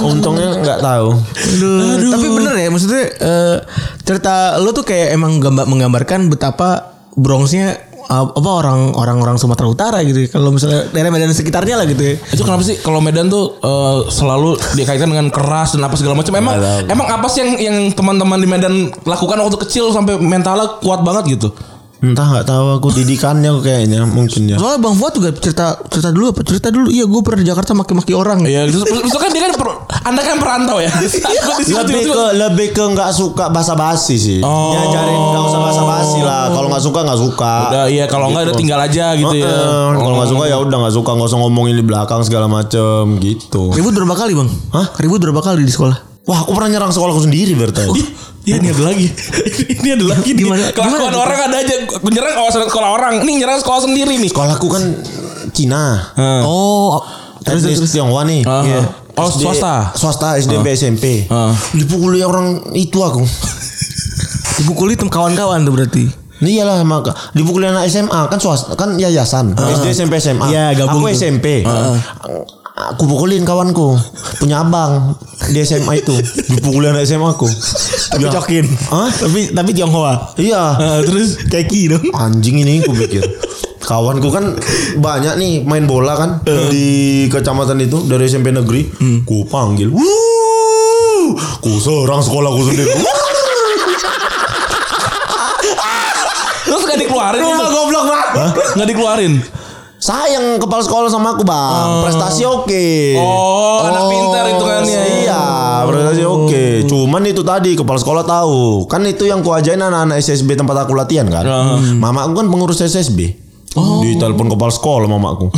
C: Untungnya nggak tahu.
B: Aduh. Tapi bener ya maksudnya eh, cerita lu tuh kayak emang gambar menggambarkan betapa Bronxnya uh, apa orang orang orang Sumatera Utara gitu. Kalau misalnya daerah Medan sekitarnya lah gitu. ya.
D: Itu kenapa sih kalau Medan tuh eh, selalu dikaitkan dengan keras dan apa segala macam. Emang emang apa sih yang yang teman-teman di Medan lakukan waktu kecil sampai mentalnya kuat banget gitu?
C: Entah nggak tahu aku didikannya kayaknya mungkin ya.
B: Soalnya Bang Fuad juga cerita cerita dulu apa? Cerita dulu. Iya, gue pernah di Jakarta maki-maki orang.
D: Iya, itu, itu kan dia kan per- Anda kan perantau ya. Di saat gua di situ
C: Lebih ke
D: tiba-tiba-
C: lebih ke nggak suka basa-basi sih.
D: Oh.
C: Nyajarin nggak usah basa-basi lah. Kalau nggak suka nggak suka.
D: Udah, iya kalau enggak udah tinggal aja gitu ya.
C: Heeh, Kalau nggak suka ya udah nggak suka nggak usah ngomongin di belakang segala macem gitu.
B: Ribut berapa kali, Bang? Hah? Ribut berapa kali di sekolah?
C: Wah aku pernah nyerang sekolahku sendiri berarti.
D: Iya ini ada
B: (laughs)
D: lagi Ini ada lagi nih.
B: Gimana-
D: Kelakuan
B: gimana?
D: orang ada aja Menyerang kawasan sekolah orang Ini nyerang sekolah sendiri nih Ah,
C: Sekolahku kan Cina.
D: Heeh.
B: Oh,
C: Terus terus Tionghoa nih.
B: Ah,
D: Heeh.
C: Iya.
D: Oh,
C: SD
D: swasta.
C: Swasta SDMP SMP.
D: Heeh.
C: Dipukuli orang itu
B: (laughs)
C: aku.
B: dipukuli tem kawan-kawan tuh berarti.
C: Iya lah maka dipukul anak SMA kan swasta kan yayasan SD SMP
B: Ah.
C: SMA.
B: Iya, gabung tuh. Ah,
C: aku SMP. Aku pukulin kawanku punya abang di SMA itu dipukulin anak SMA aku. Nah.
B: Tapi cokin.
C: Hah?
B: Tapi tapi Tionghoa.
D: ah,
C: Iya
B: (laughs) terus keki dong.
C: anjing ini aku pikir. Kawanku kan banyak nih main bola kan di kecamatan itu dari SMP negeri. Ku panggil, wuh, ku serang sekolahku sendiri.
D: Terus gak dikeluarin
C: Rumah
D: itu.
C: goblok banget.
D: Gak dikeluarin
C: Sayang kepala sekolah sama aku bang, prestasi oke.
D: Hmm. Oh, anak pintar ya. hitungannya.
C: Iya, prestasi oke.
D: Hmm.
C: Cuman itu tadi kepala sekolah tahu. Kan itu yang kuajain anak-anak SSB tempat aku latihan kan.
D: Hmm.
C: Mama aku kan pengurus SSB.
D: Oh.
C: Di telepon kepala sekolah
D: (laughs)
C: mamaku.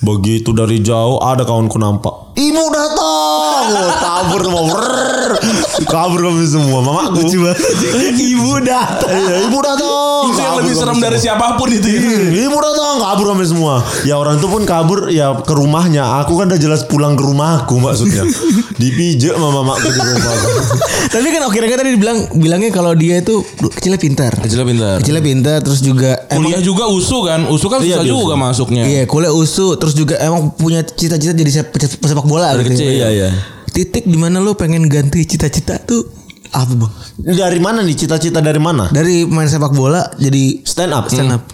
C: Begitu dari jauh ada kawanku nampak. Ibu datang. Oh, tabur semua. Brrr. Kabur kami semua mamaku. Ibu datang. Iya, ibu datang.
D: Itu yang
C: Kabur
D: lebih
C: kami
D: serem dari
C: semua.
D: siapapun itu
B: Iya.
D: ya.
C: Ibu datang kabur sampai semua. Ya orang itu pun kabur ya ke rumahnya. Aku kan udah jelas pulang ke rumahku maksudnya. Dipijak sama mamaku di rumah.
B: Tapi kan oke kan tadi dibilang bilangnya kalau dia itu duh, kecilnya pintar.
D: Kecilnya pintar.
B: Kecilnya pintar terus juga emang-
D: Kuliah juga usu kan. Usu kan
C: Iya,
D: susah
C: dia
D: juga
C: usu.
D: masuknya.
B: Iya, kuliah usu terus juga emang punya cita-cita jadi sep- pesepak bola
D: Dari kecil.
B: ya.
D: Iya, iya.
B: Titik di mana lu pengen ganti cita-cita tuh apa, Bang?
C: Dari mana nih cita-cita dari mana?
B: Dari main sepak bola jadi
C: Stand up.
B: stand up.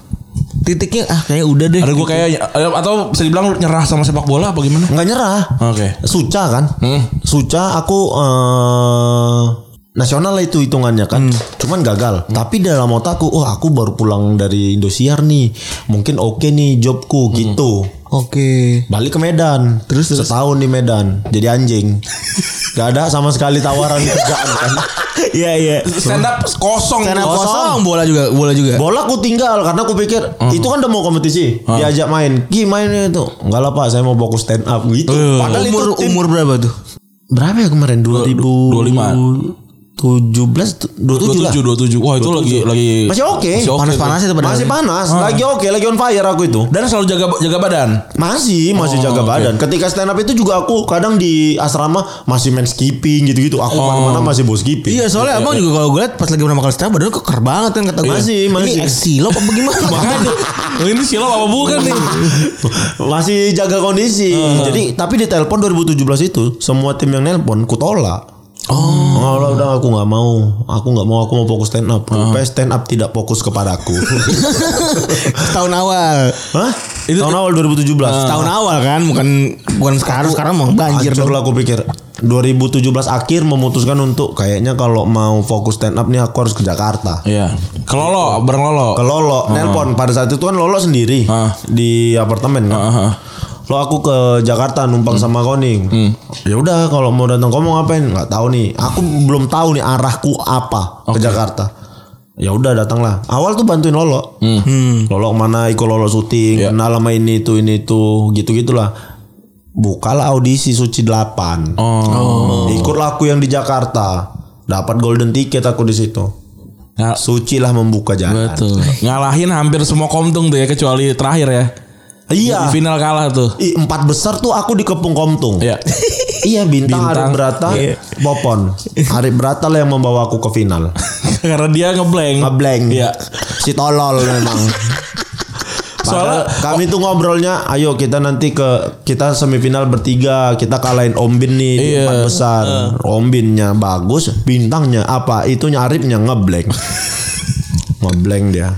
B: Titiknya ah kayaknya udah deh.
D: Ada gue kayak atau bisa dibilang lu nyerah sama sepak bola apa gimana?
C: Enggak nyerah.
D: Oke.
C: Suca kan? Suca aku eh nasional lah itu hitungannya kan. Cuman gagal. Tapi dalam otakku, oh aku baru pulang dari Indosiar nih. Mungkin oke nih jobku gitu.
B: Oke.
C: Balik ke Medan terus, setahun di Medan jadi
B: (laughs)
C: anjing. Gak ada sama sekali tawaran kerjaan kan.
B: Iya, iya.
D: Stand up kosong.
B: Stand up
D: Kosong.
B: kosong, bola juga, bola juga.
C: Bola ku tinggal karena aku pikir
B: Hmm.
C: itu kan udah mau kompetisi diajak main. Ki main itu. Enggak lah Pak, saya mau fokus stand up gitu.
D: Eh.
C: Padahal
B: Eh. umur
C: itu tim-
B: umur berapa tuh?
C: berapa ya kemarin 2000
D: 25.
C: 17 27 lah.
D: 27 27. Wah, itu lagi lagi
C: Masih oke.
D: Masih oke.
B: Panas-panas itu padahal. Hmm.
C: Masih panas, lagi oke, lagi on fire aku itu.
D: Dan selalu jaga jaga badan.
C: Masih, masih
B: Oh,
C: jaga badan. Ketika stand up itu juga aku kadang di asrama masih main skipping gitu-gitu. Aku mana-mana masih bos skipping.
B: Oh. Iya soalnya abang juga kalau gue liat pas lagi pertama kali stand up badannya keker banget kan kata gue.
C: Masih, masih.
B: Ini eksilop apa gimana?
D: Makanya ini silau apa bukan
B: (laughs)
D: nih?
C: masih jaga kondisi. Jadi tapi di telepon 2017 itu semua tim yang nelpon ku tolak. Oh, udah, udah aku nggak mau, aku nggak mau, aku mau fokus stand up. Rupanya stand up tidak fokus kepadaku.
B: Tahun awal.
C: Hah? Tahun awal 2017.
B: Tahun awal kan bukan bukan sekarang sekarang mau banjir
C: Hancur
B: dong.
C: lah aku pikir 2017 akhir memutuskan untuk kayaknya kalau mau fokus stand up nih aku harus ke Jakarta.
D: Iya. Kelolo, bareng Lolo.
C: Ke Lolo, nelpon pada saat itu kan Lolo sendiri
D: Ah.
C: di apartemen kan.
D: Aha.
C: Lo aku ke Jakarta numpang sama kau nih.
D: Hmm.
C: Ya udah kalau mau datang kau mau ngapain? Nggak tahu nih. Aku belum tahu nih arahku apa ke Jakarta. Ya udah datanglah. Awal tuh bantuin Lolo. Lolo mana ikut Lolo syuting,
D: Hmm. Ya.
C: kenal sama ini itu ini itu gitu-gitulah. Bukalah audisi Suci 8.
D: Oh.
C: Ikutlah aku yang di Jakarta. Dapat golden ticket aku di situ.
D: Nah,
C: Suci lah membuka jalan.
D: Betul. Ngalahin hampir semua komtung tuh ya kecuali terakhir ya.
C: Iya.
D: Di final kalah tuh.
C: Ih, empat besar tuh aku dikepung Komtung.
D: Iya.
C: Iya bintang,
D: Bintang.
C: Arif Brata
D: Iya.
C: Popon Arif Brata lah yang membawa aku ke final
D: Karena dia ngeblank.
C: Ngeblank
D: Iya.
C: Si tolol
D: (laughs)
C: memang
D: Soalnya-
C: Soalnya kami tuh ngobrolnya Ayo kita nanti ke Kita semifinal bertiga Kita kalahin Om Bin nih di
D: Iya.
C: Empat besar Om Binnya bagus Bintangnya
D: (laughs)
C: apa Itunya Arifnya ngeblank Ngeblank dia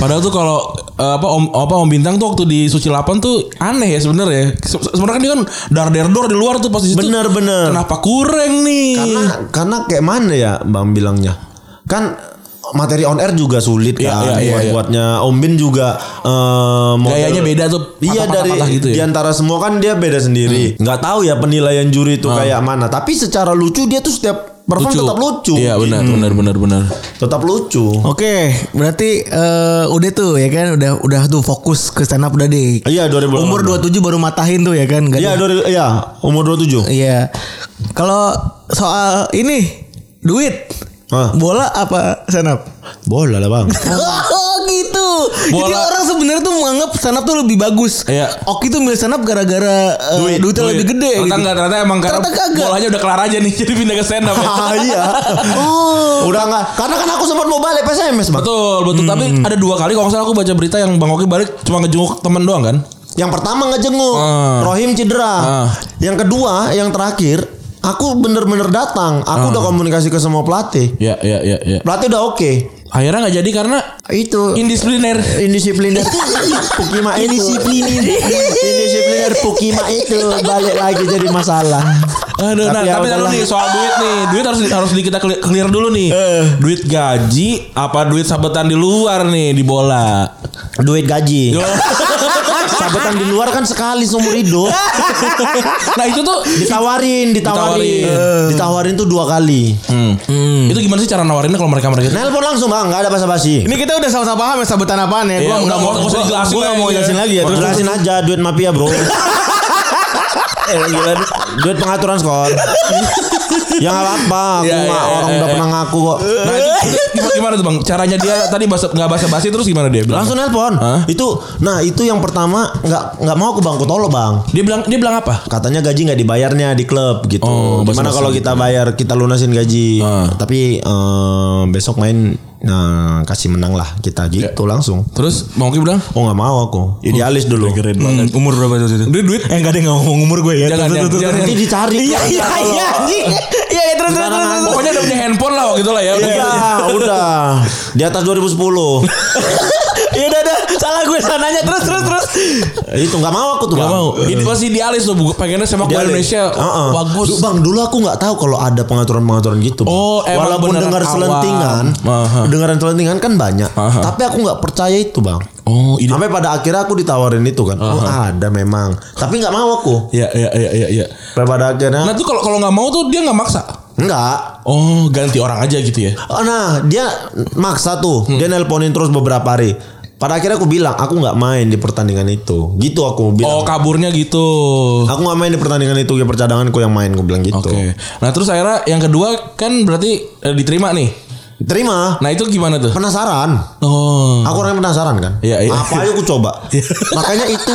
D: Padahal tuh kalau eh, apa om apa om bintang tuh waktu di suci 8 tuh aneh ya sebenarnya. Se- se- Sebenarnya kan dia kan dar der dor di luar tuh pas di situ.
C: Bener, bener.
D: Kenapa kurang nih?
C: karena karena kayak mana ya bang bilangnya kan materi on air juga sulit
D: Iya,
C: kan
D: iya, iya, iya.
C: buatnya Om Bin juga eh, model-
D: Gayanya beda tuh,
C: iya
D: patah-patah
C: dari
D: gitu ya. Hmm.
C: di antara semua kan dia beda sendiri nggak tahu ya penilaian juri itu kayak mana tapi secara lucu dia tuh setiap perform tetap lucu
D: Iya benar, Oh.
C: Gitu.
D: benar, benar, benar.
C: tetap lucu
B: Oke, berarti eh, udah tuh ya kan udah udah tuh fokus ke stand up udah deh.
C: iya 2018
B: Umur 27 baru matahin tuh ya kan. Gak
C: iya
B: ada-
C: 2000 iya umur 27
B: Iya. Kalau soal ini duit
C: Hah?
B: bola apa stand up?
C: bola lah
D: (laughs)
C: bang (laughs)
B: Oh gitu. Jadi
D: Bola.
B: orang sebenarnya tuh menganggap stand up tuh lebih bagus.
D: Iya.
B: Oki tuh milih stand up gara-gara eh, duitnya lebih gede gitu.
D: Ternyata enggak, ternyata emang karena
B: Ternyata kagak.
D: bolanya udah kelar aja nih (laughs) jadi pindah ke stand up.
C: (laughs)
D: ya.
C: ah, iya
D: Oh.
C: udah nggak karena kan aku sempat mau balik PSMS bang
D: Betul, betul. Tapi
C: Hmm.
D: ada dua kali kalau nggak salah aku baca berita yang Bang Oki balik cuma ngejenguk temen doang kan?
C: Yang pertama ngejenguk
D: Ah.
C: Rohim cedera.
D: Ah.
C: Yang kedua, yang terakhir, aku bener-bener datang. Aku
D: Ah.
C: udah komunikasi ke semua pelatih.
D: Iya, iya,
C: ya,
D: iya, iya.
C: Pelatih udah oke.
D: Akhirnya nggak jadi karena
C: Itu
D: indisipliner.
C: indisipliner Pukima itu. Indisipliner. indisipliner Pukima itu balik lagi jadi masalah.
D: Aduh, nah,
C: ya
D: tapi lalu
C: udahlah.
D: nih soal duit nih, duit harus harus di- kita clear- clear dulu nih.
C: Eh.
D: Duit gaji apa duit sabetan di luar nih di bola?
C: duit gaji. (laughs) Sabetan di luar kan sekali seumur hidup.
D: nah itu tuh
C: Ditawarin, ditawarin.
D: Ditawarin.
C: Ditawarin tuh dua kali.
D: Hmm. Itu gimana sih cara nawarinnya kalau Nah, mereka mereka?
C: Nelpon langsung bang, nggak ada basa-basi.
B: Ini kita udah sama-sama paham ya sabetan apaan ya.
D: Iya,
B: Gua
D: udah,
B: nggak mau
D: nggak usah dijelasin
B: gua nggak
D: aja.
B: mau jelasin lagi ya.
C: Ya,
B: Terus
C: jelasin aja duit mafia bro. Eh, gila, duit- duit pengaturan skor. ya nggak apa-apa, aku
D: Ya,
C: mah
D: ya,
C: orang
D: ya,
C: udah
D: ya.
C: pernah ngaku kok.
D: Nah, itu,
C: Eh.
D: gimana, gimana tuh bang? Caranya dia tadi bahasa nggak bahasa basi terus gimana dia? Bilang?
C: Langsung nelpon.
D: Hah?
C: Itu, nah itu yang pertama nggak nggak mau aku bangku tolo bang.
D: Dia bilang dia bilang apa?
C: Katanya gaji nggak dibayarnya di klub gitu.
D: Oh,
C: Gimana
D: basa-basi
C: kalau kita bayar kita lunasin gaji.
D: Ah.
C: Tapi eh, besok main nah kasih menang lah kita gitu langsung.
D: Terus Bang Oki bilang
C: Oh nggak mau aku. Iya, Idealis dulu.
B: umur berapa tuh itu?
D: Duit duit
B: Eh enggak deh enggak ngomong umur gue ya.
D: Jangan,
B: Tuh, tuh, tuh,
D: jangan,
B: tuh.
D: jangan.
C: Nanti dicari.
B: Iya iya iya. anjing. Iya iya, terus terus terus. terus.
D: Pokoknya udah punya handphone lah waktu itu lah ya.
C: Iya.
D: Udah gitu.
C: Udah, udah. Di atas 2010.
B: Iya udah udah salah gue sananya terus terus terus.
C: Eh, itu nggak mau aku tuh
D: Gak
C: bang.
D: mau. Ini pasti idealis tuh bu- pengennya sepak bola Indonesia
C: Heeh.
D: bagus.
C: Du- bang dulu aku nggak tahu kalau ada pengaturan pengaturan gitu. Bang.
D: Oh, emang
C: Walaupun
D: beneran
C: dengar
D: awam.
C: selentingan,
D: Aha.
C: dengaran selentingan kan banyak.
D: Aha.
C: Tapi aku nggak percaya itu bang.
D: Oh, ide.
C: Sampai pada akhirnya aku ditawarin itu kan. Oh ada memang. Tapi nggak mau aku.
D: Ya ya ya ya ya.
C: Sampai pada akhirnya
D: Nah tuh kalau kalau nggak mau tuh dia nggak maksa.
C: nggak.
D: Oh ganti orang aja gitu ya.
C: Oh, nah dia maksa tuh.
D: Hmm.
C: Dia nelponin terus beberapa hari. Pada akhirnya aku bilang aku nggak main di pertandingan itu. Gitu aku
D: Oh
C: bilang.
D: kaburnya gitu.
C: Aku nggak main di pertandingan itu. Ya percadanganku yang main. Aku bilang gitu.
D: Oke. Nah terus akhirnya yang kedua kan berarti eh, diterima nih.
C: Terima.
D: Nah itu gimana tuh?
C: Penasaran.
D: Oh.
C: Aku orangnya penasaran kan.
D: Iya, iya.
C: Apa aja aku
D: (laughs)
C: coba. Makanya itu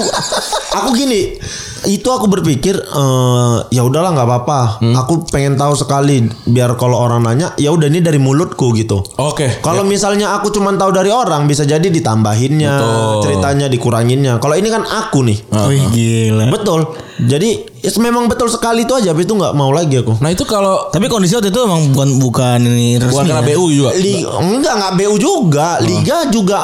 C: aku gini, itu aku berpikir eh, ya udahlah nggak apa-apa.
D: Hmm.
C: Aku pengen tahu sekali biar kalau orang nanya ya udah ini dari mulutku gitu.
D: Oke.
C: Kalau misalnya aku cuma tahu dari orang bisa jadi ditambahinnya,
D: Betul. Oh.
C: ceritanya dikuranginnya. Kalau ini kan aku nih.
B: Wih gila.
C: Betul. Jadi ya memang betul sekali itu aja habis itu nggak mau lagi aku.
D: Nah itu kalau
B: Tapi kondisi waktu itu emang bukan bukan ini resmi.
D: bukan karena
B: ya?
D: BU juga.
C: Li- enggak enggak BU juga,
D: Ah.
C: liga juga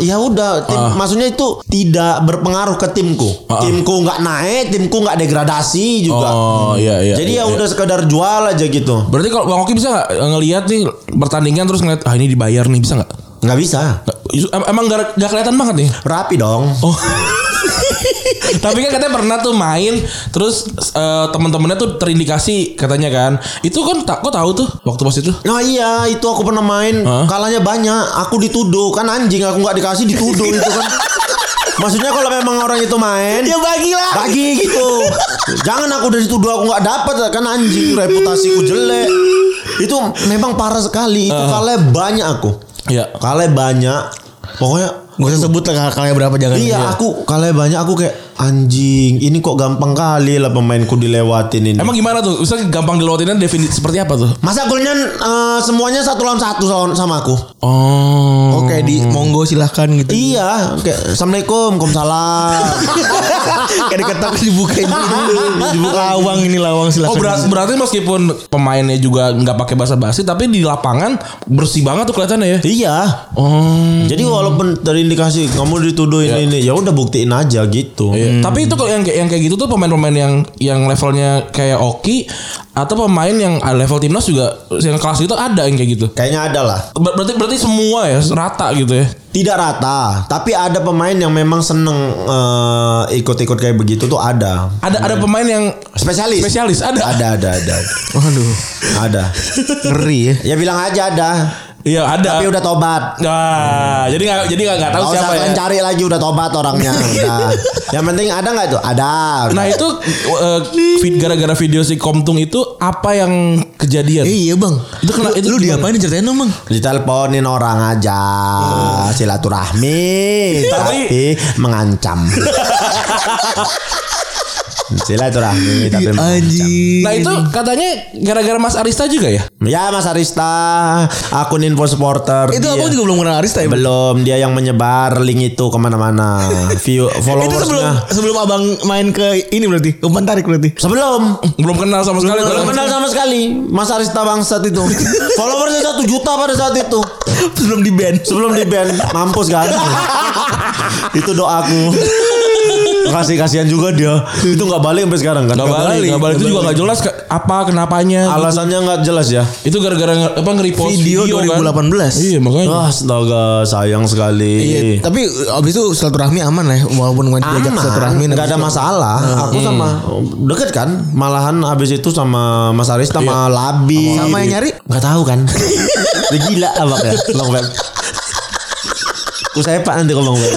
C: ya udah tim maksudnya itu tidak berpengaruh ke timku. Timku nggak naik, timku nggak degradasi juga.
D: Ah. Oh iya iya.
C: Jadi ya
D: iya, iya.
C: udah sekedar jual aja gitu.
D: Berarti kalau Bang Oki bisa nggak eh, ngelihat nih pertandingan terus ngeliat ah ini dibayar nih bisa nggak?
C: Nggak bisa.
D: Em- Emang gak, gak kelihatan banget nih.
C: Rapi dong.
D: Oh. Tapi kan katanya pernah tuh main terus eh, teman-temannya tuh terindikasi katanya kan. Itu kan tak kok tahu tuh waktu pas itu.
C: Nah iya itu aku pernah main
D: Hah?
C: kalahnya banyak aku dituduh kan anjing aku nggak dikasih dituduh itu kan maksudnya kalau memang orang itu main
B: Ya bagilah.
C: bagi gitu jangan aku dari tuduh aku nggak dapat kan anjing reputasiku jelek itu memang parah sekali itu kalahnya banyak aku
D: Iya.
C: kalahnya banyak pokoknya
B: Gak usah sebut lah kalanya berapa jangan.
C: iya aku kalahnya banyak aku kayak anjing ini kok gampang kali lah pemainku dilewatin ini
D: Emang gimana tuh? Usah gampang dilewatinnya definisi seperti apa tuh?
C: masa golnya eh, semuanya satu lawan satu lawan sama aku
D: Oh.
C: Oke
B: kayak di monggo silahkan gitu.
C: Iya, kayak assalamualaikum, salam.
B: (laughs) kayak diketok dibukain dulu. lawang ini lawang silahkan.
D: Oh berat- berarti meskipun pemainnya juga nggak pakai bahasa basi tapi di lapangan bersih banget tuh kelihatannya ya.
C: iya.
D: Oh.
C: Jadi
B: Hmm.
C: walaupun dari dikasih kamu dituduh
B: Iya.
C: ini ini, ya udah buktiin aja gitu.
D: Iya. Tapi itu kalau yang kayak- yang kayak gitu tuh pemain-pemain yang yang levelnya kayak Oki atau pemain yang ah, level timnas juga yang kelas gitu ada yang kayak gitu.
C: Kayaknya ada lah.
D: Ber- berarti berarti semua ya rata gitu ya.
C: Tidak rata, tapi ada pemain yang memang seneng eh, ikut-ikut kayak begitu tuh ada.
D: Ada ada pemain yang
C: Spesialis.
D: spesialis ada.
C: Ada, ada, ada.
B: Waduh,
C: ada.
B: ngeri ya.
C: Ya bilang aja ada.
D: Iya
B: Eh,
D: ada.
C: Tapi udah tobat.
D: Nah, jadi nggak jadi nggak nggak tahu
C: Gak usah
D: siapa ya.
C: kalian cari lagi udah tobat
B: (laughs)
C: orangnya. Udah. Yang penting ada nggak tuh? Ada.
D: Nah itu eh, vid- gara-gara video si Komtung itu apa yang kejadian?
B: Eh, iya bang.
D: Itu kena- itu
B: lu, lu
D: gimana?
B: diapain ceritain dong bang?
C: Diteleponin orang aja
B: Hmm. (laughs)
C: silaturahmi
D: Tapi-
C: tapi mengancam. silaturahmi tapi mengancam.
B: Iya, Anjing.
D: Nah itu katanya gara-gara Mas Arista juga ya?
C: Ya Mas Arista, akun info supporter.
B: Itu
C: dia.
B: abang juga belum kenal Arista ya? Bang?
C: belum dia yang menyebar link itu kemana-mana. View
B: (laughs) Itu sebelum
C: followersnya.
B: sebelum abang main ke ini berarti, ke Pantarik berarti.
C: Sebelum
D: Belum kenal sama sekali.
C: Belum kenal sama sekali Mas Arista bangsat (laughs) itu Followersnya satu juta pada saat itu
B: (laughs) Sebelum di band.
C: Sebelum di band Mampus (laughs) kan Itu doaku Kasih kasihan juga dia Itu gak balik sampai sekarang kan
D: Gak balik, gak balik. Itu juga gak jelas ke- apa kenapanya.
C: Alasannya gak jelas ya
D: itu gara-gara nge- apa nge-repost
B: Video
D: kan?
B: 2018.
D: Iya makanya.
C: Ah, Astaga sayang sekali
B: Iya. Tapi abis itu silaturahmi aman lah, ya, walaupun nggak diajak silaturahmi.
C: Aman, gak ada masalah. Aku sama deket kan, malahan habis itu sama Mas Arista Iya. sama Labi.
B: Sama yang nyari?
C: Gak tahu kan? Dia gila abang ya, Bang Beb. Ku saya pak nanti ke Bang Beb.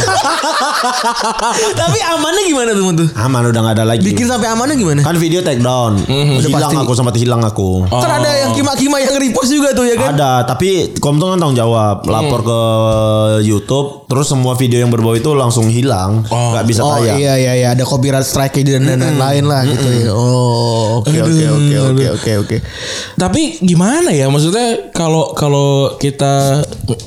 B: (laughs) Tapi amannya gimana tuh Bang, tuh?
C: Aman Ah, udah gak ada lagi.
B: Bikin Mhm. sampai amannya gimana?
C: Kan video take down. Hilang aku sempat hilang aku.
B: Kan ada yang kima-kima yang repost juga tuh ya kan?
C: Ada, tapi Komtung kan tanggung
B: Mhm.
C: jawab, lapor ke YouTube, terus semua video yang berbau itu langsung hilang,
D: Oh.
C: nggak bisa
B: Oh
C: tayang.
B: iya iya iya ada copyright strike dan dan lain-lain lah gitu ya. Oh oke oke oke oke oke oke.
D: Tapi gimana ya maksudnya kalau kalau kita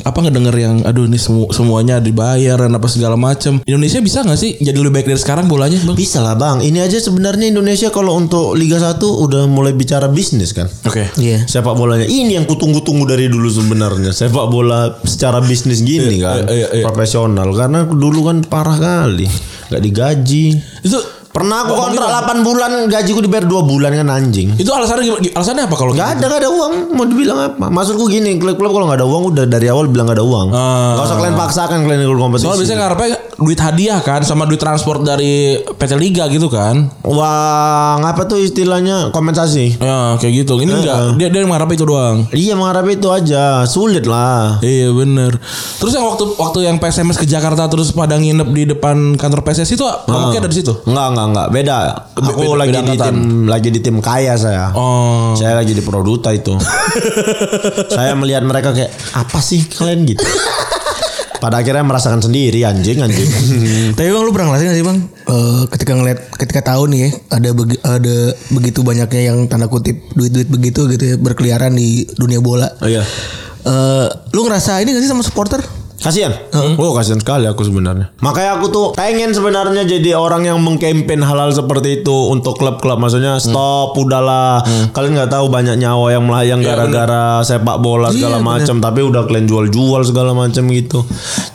D: apa ngedenger yang aduh ini semu- semuanya dibayar dan apa segala macem Indonesia bisa nggak sih jadi lebih baik dari sekarang bolanya bang?
C: Bisa lah bang. Ini aja sebenarnya Indonesia kalau untuk Liga 1 udah mulai bicara bisnis kan.
D: Oke.
B: Iya.
C: Sepak bolanya ini yang kutunggu-tunggu dari dulu sebenarnya. Sepak bola secara bisnis gini
D: Iya,
C: kan,
D: iya, iya.
C: profesional. Karena dulu kan parah kali, nggak digaji.
D: Itu
C: Pernah aku kontrak 8 bulan, gajiku dibayar 2 bulan kan anjing.
D: itu alasannya gimana- alasannya apa kalau gitu?
C: Gak ada, gak ada uang. Mau dibilang apa? Maksudku gini, klub-klub kalau gak ada uang udah dari awal bilang gak ada uang.
D: Ah.
C: Gak usah kalian paksakan kalian ikut kompetisi.
D: Soalnya biasanya ngarepnya duit hadiah kan sama duit transport dari PT Liga gitu kan.
C: Uang apa tuh istilahnya kompensasi?
D: Ya kayak gitu. Ini enggak dia dia mengharap itu doang.
C: Iya mengharap itu aja sulit lah.
D: Iya bener Terus yang waktu waktu yang PSMS ke Jakarta terus pada nginep di depan kantor PSS itu pokoknya ada di situ.
C: Enggak enggak enggak beda.
D: Be-
C: Aku
D: beda-
C: lagi
D: beda
C: di
D: angkatan.
C: tim lagi di tim kaya saya.
D: Oh.
C: Saya lagi di Produta
D: (laughs)
C: itu. saya melihat mereka kayak apa sih kalian
D: (laughs)
C: gitu. Pada akhirnya merasakan sendiri anjing
D: (laughs)
C: anjing.
B: Tapi bang lu pernah ngerasain gak sih bang? Eh, ketika ngeliat ketika tahun nih ya, ada begi- ada begitu banyaknya yang tanda kutip duit-duit begitu gitu ya berkeliaran di dunia bola.
D: Oh
C: iya.
B: Eh, lu ngerasa ini gak sih sama supporter?
C: Kasihan. Oh, kasihan sekali aku sebenarnya. Makanya aku tuh pengen sebenarnya jadi orang yang mengkampen halal seperti itu untuk klub-klub. Maksudnya stop udahlah. Kalian nggak tahu banyak nyawa yang melayang gara-gara sepak bola segala macam, tapi udah kalian jual-jual segala macam gitu.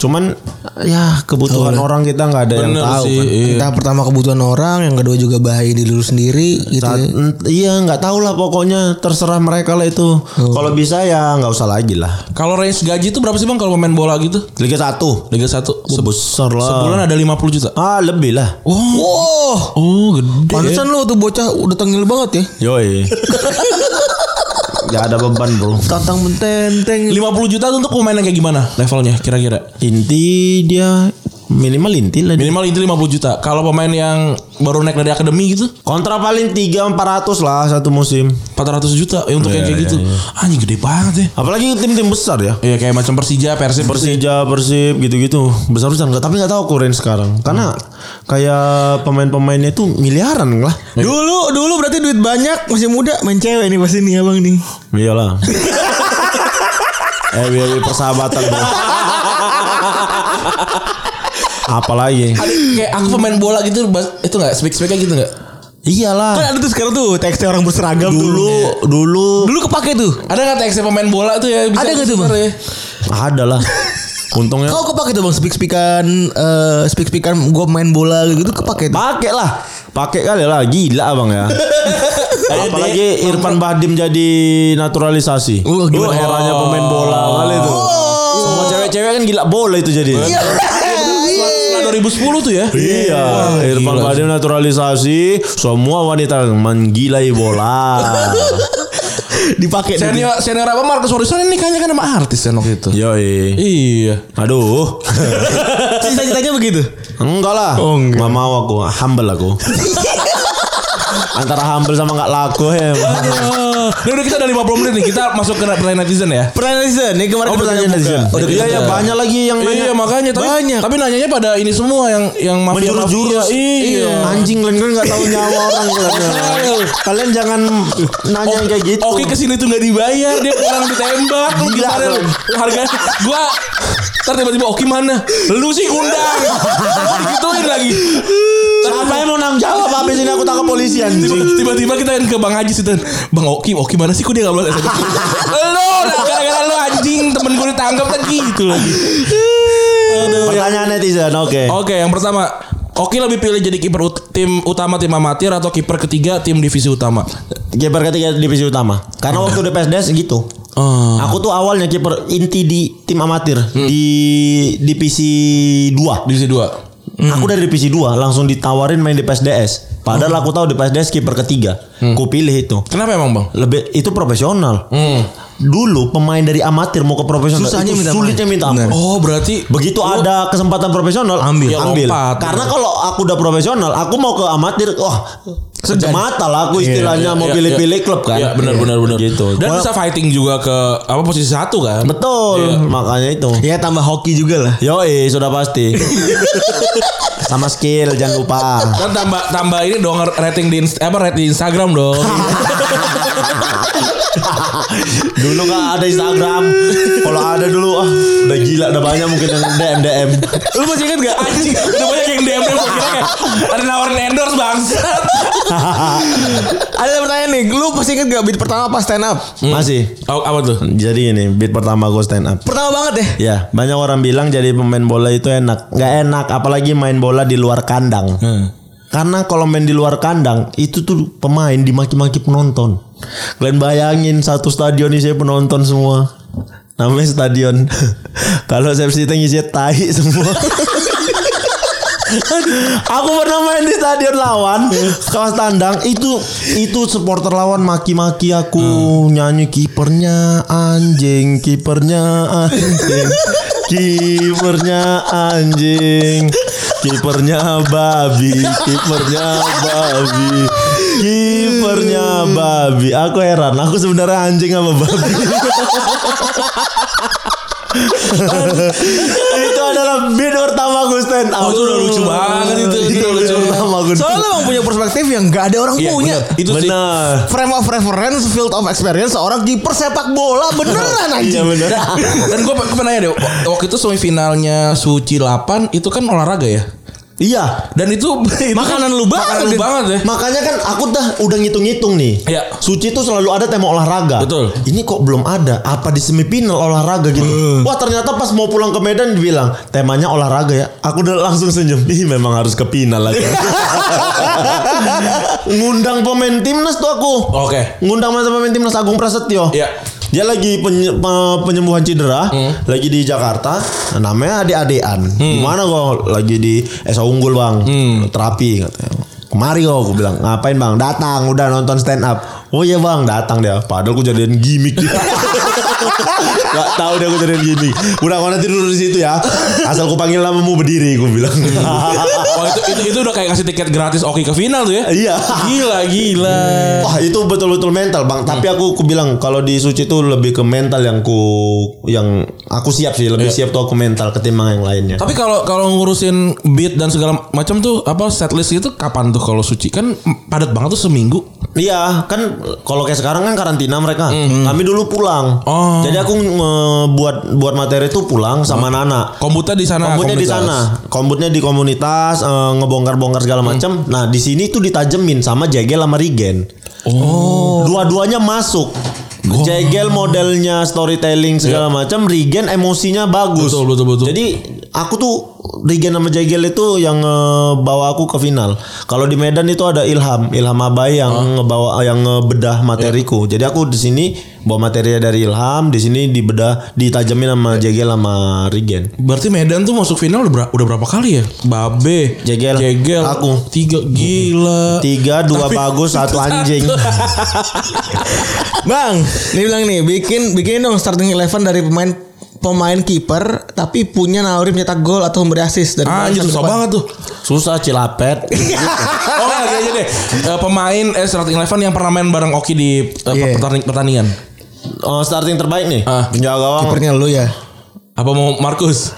C: Cuman ya kebutuhan orang kita nggak ada yang
D: Bener
C: tahu.
D: sih.
C: kan.
D: iya.
B: Kita pertama kebutuhan orang, yang kedua juga bahaya diri lu sendiri gitu.
C: Saat-
B: ya.
C: ent- iya nggak tahu lah pokoknya terserah mereka lah itu. Kalau bisa ya nggak usah lagi lah.
D: Kalau range gaji itu berapa sih Bang kalau pemain bola gitu?
C: Liga 1
D: Liga 1
C: besar lah.
D: sebulan ada 50 juta.
C: Ah lebih lah.
D: Wow. Oh, gede.
B: Pantesan lu tuh bocah udah tengil banget ya.
C: Yoi. Gak ada beban bro.
B: Tantang mententeng.
D: 50 juta tuh untuk pemain yang kayak gimana levelnya kira-kira?
C: Inti dia minimal inti lah. dia.
D: Minimal itu 50 juta. Kalau pemain yang baru naik dari akademi gitu
C: Kontra paling 3 400 lah satu musim.
D: 400 juta ya untuk yang kayak gitu. Anjing gede banget ya.
C: Apalagi tim-tim besar ya.
D: Iya kayak macam Persija, Persib, Persib.
C: Persija, Persib gitu-gitu. Besar-besar nggak tapi nggak tahu aku range sekarang. Karena kayak pemain-pemainnya itu miliaran lah.
B: Dulu dulu berarti duit banyak masih muda main cewek nih pasti nih abang nih.
C: Iyalah. eh, biar persahabatan iya, bro. Apalagi.
D: Ada kayak aku pemain bola gitu bas- itu nggak speak speaknya gitu nggak?
C: Iyalah.
E: Kan ada tuh sekarang tuh teksnya orang berseragam
C: Dulu
E: tuh.
C: dulu
E: Dulu kepake tuh.
D: Ada nggak teksnya pemain bola tuh ya? Bisa
B: Ada nggak tuh,
D: besar
B: Bang?
D: ya?
C: ada
B: (laughs)
C: lah. Untungnya
B: Kau kepake tuh bang speak speakan speak speakan gue main bola gitu kepake tuh.
C: pakai lah. Pakai kali lah gila abang
B: (laughs)
C: ya. Apalagi Irfan Bahdim jadi naturalisasi.
B: Oh,
C: Dulu
B: gimana?
C: eranya pemain bola kali itu. Semua cewek-cewek kan gila bola itu jadi.
B: Iya.
D: Setelah 2010 tuh ya.
C: Iya, Irfan Bahdim naturalisasi, semua wanita menggilai
B: (laughs)
C: bola.
E: Dipakai tuh.
D: Senior senior apa Marcus Morrison ini kayaknya kan nama artis kan waktu itu.
C: Yoi.
D: Iya.
B: (laughs)
C: Aduh.
E: Cita-citanya begitu.
C: Enggak lah.
B: Oh,
C: Nggak mau aku, humble
B: (laughs)
C: aku. Antara humble sama nggak laku ya.
D: Ah. Ini udah kita udah 50 menit nih. Kita masuk ke pertanyaan netizen ya.
E: Pertanyaan netizen nih kemarin.
C: Oh
E: kita
C: pertanyaan
E: buka.
C: netizen.
E: Udah
C: Iya
E: kita
C: ya banyak lagi yang
D: Iya
C: nanya.
D: makanya tapi,
E: Banyak.
D: tapi nanyanya pada ini semua yang yang mafia
C: Menjurus-jurus.
D: mafia. Iya.
C: Anjing kalian kan nggak tahu nyawa orang (laughs) kalian. Kalian jangan nanya yang kayak gitu.
D: Oke kesini tuh nggak dibayar dia pulang ditembak lu
C: Gila,
D: gimana lu? harga gua ntar tiba-tiba "Oh, Oki mana lu sih ngundang (laughs) gituin lagi
C: Siapa yang mau nang jawab habis ini aku tangkap polisi anjing.
D: Tiba- tiba-tiba kita kan ke Bang Haji sih Tan. Bang Oki Oki mana sih kok dia nggak boleh SMS lu nah, gara-gara lu anjing temen gue ditangkap kan gitu lagi
C: Pertanyaan netizen, oke.
D: oke yang pertama Oki lebih pilih jadi kiper ut- tim utama tim amatir atau kiper ketiga tim divisi utama
C: Kiper ketiga divisi utama. Karena waktu di PSDS gitu.
D: Ah. Hmm.
C: Aku tuh awalnya kiper inti di tim amatir di divisi 2.
D: divisi dua
C: Aku dari divisi 2 langsung ditawarin main di PSDS. Padahal
D: Hmm.
C: aku tahu di PSDS kiper ketiga. Ku pilih itu.
D: kenapa emang bang
C: Lebih itu profesional.
D: Hmm.
C: Dulu pemain dari amatir mau ke profesional
B: Susahnya
C: itu
B: minta
C: sulitnya
B: ampun.
C: minta ampun.
B: Benar.
D: Oh berarti
C: Begitu ada kesempatan profesional
D: Ambil. Ya,
C: ambil.
D: lompat.
C: Karena kalau aku udah profesional, aku mau ke amatir, wah
B: Segan.
C: mata lah aku istilahnya mau
D: iya,
C: pilih-pilih
D: iya.
C: klub kan.
D: Iya benar benar benar.
C: Gitu.
D: Dan
C: Wala-
D: bisa fighting juga ke apa posisi satu kan?
C: betul, makanya itu.
D: Iya.
B: Ya tambah hoki juga lah.
C: Yoi, sudah pasti. (laughs) Sama skill jangan lupa.
D: Kan tambah tambah ini dong rating di Inst- apa rating di Instagram dong.
C: Dulu nggak ada Instagram. Kalau ada dulu ah udah gila udah banyak mungkin yang DM DM.
D: Lu masih ingat gak? Anjing, udah banyak yang DM DM gua kira kayak ada nawarin endorse bangsat.
B: Ada pertanyaan nih, lu pasti inget gak beat pertama pas stand up?
C: Masih.
D: Oh, apa tuh?
C: Jadi ini beat pertama gue stand up.
B: Pertama banget deh.
C: Ya, banyak orang bilang jadi pemain bola itu enak. Nggak enak, apalagi main bola di luar kandang. Karena kalau main di luar kandang, itu tuh pemain dimaki-maki penonton. Kalian bayangin satu stadion isinya penonton semua. Namanya stadion. (laughs) kalau sepsi itu isinya tai semua. (laughs) Aku pernah main di stadion lawan kelas tandang itu itu supporter lawan maki-maki aku
D: Hmm.
C: nyanyi kipernya anjing kipernya anjing kipernya anjing kipernya babi kipernya babi kipernya babi aku heran aku sebenarnya anjing sama babi itu adalah beat pertama aku stand up
D: Oh, itu udah lucu banget itu. Itu udah lucu banget.
C: pertama aku
B: Soalnya lu emang punya perspektif yang gak ada orang
D: Iya,
B: punya.
D: benar. Itu sih.
C: benar
B: Frame of reference, field of experience seorang kiper sepak bola beneran
C: iya
B: anjing.
C: benar
D: Dan gue pernah nanya deh, waktu itu semifinalnya Suci 8 itu kan olahraga ya.
C: iya
D: Dan itu (laughs)
B: Makanan lu banget.
D: Makanan lu banget ya.
C: makanya kan aku dah udah ngitung-ngitung nih
D: Iya.
C: suci tuh selalu ada tema olahraga
D: Betul.
C: ini kok belum ada apa di semifinal olahraga gitu
D: Hmm.
C: wah ternyata pas mau pulang ke Medan dibilang temanya olahraga ya aku udah langsung senyum ih memang harus ke final
D: (laughs)
C: lagi ngundang pemain timnas tuh aku
D: Oke.
C: ngundang mantan pemain timnas Agung Prasetyo.
D: Iya.
C: Dia lagi penye- pe- penyembuhan cedera, lagi di Jakarta. Nah, namanya Ade Adean. Gimana kok lagi di Esa Unggul, Bang? Terapi katanya. Kemari kok aku bilang, ngapain Bang? Datang udah nonton stand up. Oh iya Bang, datang dia. Padahal aku jadian gimmick dia. (laughs) Gak tahu dia aku jadian gimmick. Udah kau nanti duduk di situ ya. Asal aku panggil namamu berdiri, aku bilang. (laughs)
D: Wah Oh, itu, itu, itu udah kayak ngasih tiket gratis Oki ke final tuh ya.
C: Iya.
D: Gila gila.
C: Wah itu betul-betul mental bang. Tapi
D: Hmm.
C: aku ku bilang kalau di suci itu lebih ke mental yang ku yang aku siap sih lebih siap tuh aku mental ketimbang yang lainnya.
D: Iya. Tapi kalau kalau ngurusin beat dan segala macam tuh apa setlist itu kapan tuh kalau suci kan padat banget tuh seminggu.
C: Iya kan kalau kayak sekarang kan karantina mereka. Kami dulu pulang.
D: Hmm. Oh.
C: Jadi aku ng- eh, buat buat materi tuh pulang sama Nana.
D: Komputer di sana.
C: Kombutnya di
D: Nah, komunitas.
C: sana, kombutnya di komunitas eh, ngebongkar-bongkar segala
D: Hmm.
C: macam. Nah di sini tuh ditajemin sama Jegel sama Rigen. Oh. Dua-duanya masuk. Jegel modelnya storytelling segala macam, Rigen emosinya bagus.
D: Iya. Betul, betul, betul.
C: Jadi aku tuh Rigen sama Jegel itu yang eh, bawa aku ke final. Kalau di Medan itu ada Ilham, Ilham Abai
D: Ah.
C: yang ngebawa yang
D: Iya.
C: ngebedah materiku. Jadi aku di sini bawa materinya dari Ilham, di sini dibedah, ditajemin sama
D: Iya.
C: Jegel sama Rigen.
D: Berarti Medan tuh masuk final udah, ber- udah berapa kali ya? Babe,
C: Jegel. Aku.
D: tiga gila.
C: Tiga, dua
D: Tapi-
C: bagus,
D: (laughs)
C: satu anjing.
B: Bang, nih bilang nih, bikin bikin dong starting eleven dari pemain pemain kiper tapi punya naluri mencetak gol atau memberi assist dari pemain
D: Anjir
B: satu
D: susah
B: depan.
D: banget tuh.
C: Susah
D: (laughs)
C: cilapet.
D: Oh enggak gini aja deh. Eh, pemain eh, starting eleven yang pernah main bareng Oki di eh,
B: Iya.
D: pertanding- pertandingan.
C: Oh, starting terbaik nih.
D: Ah.
C: Penjaga gawang.
B: Kipernya lu ya.
D: Apa mau Markus?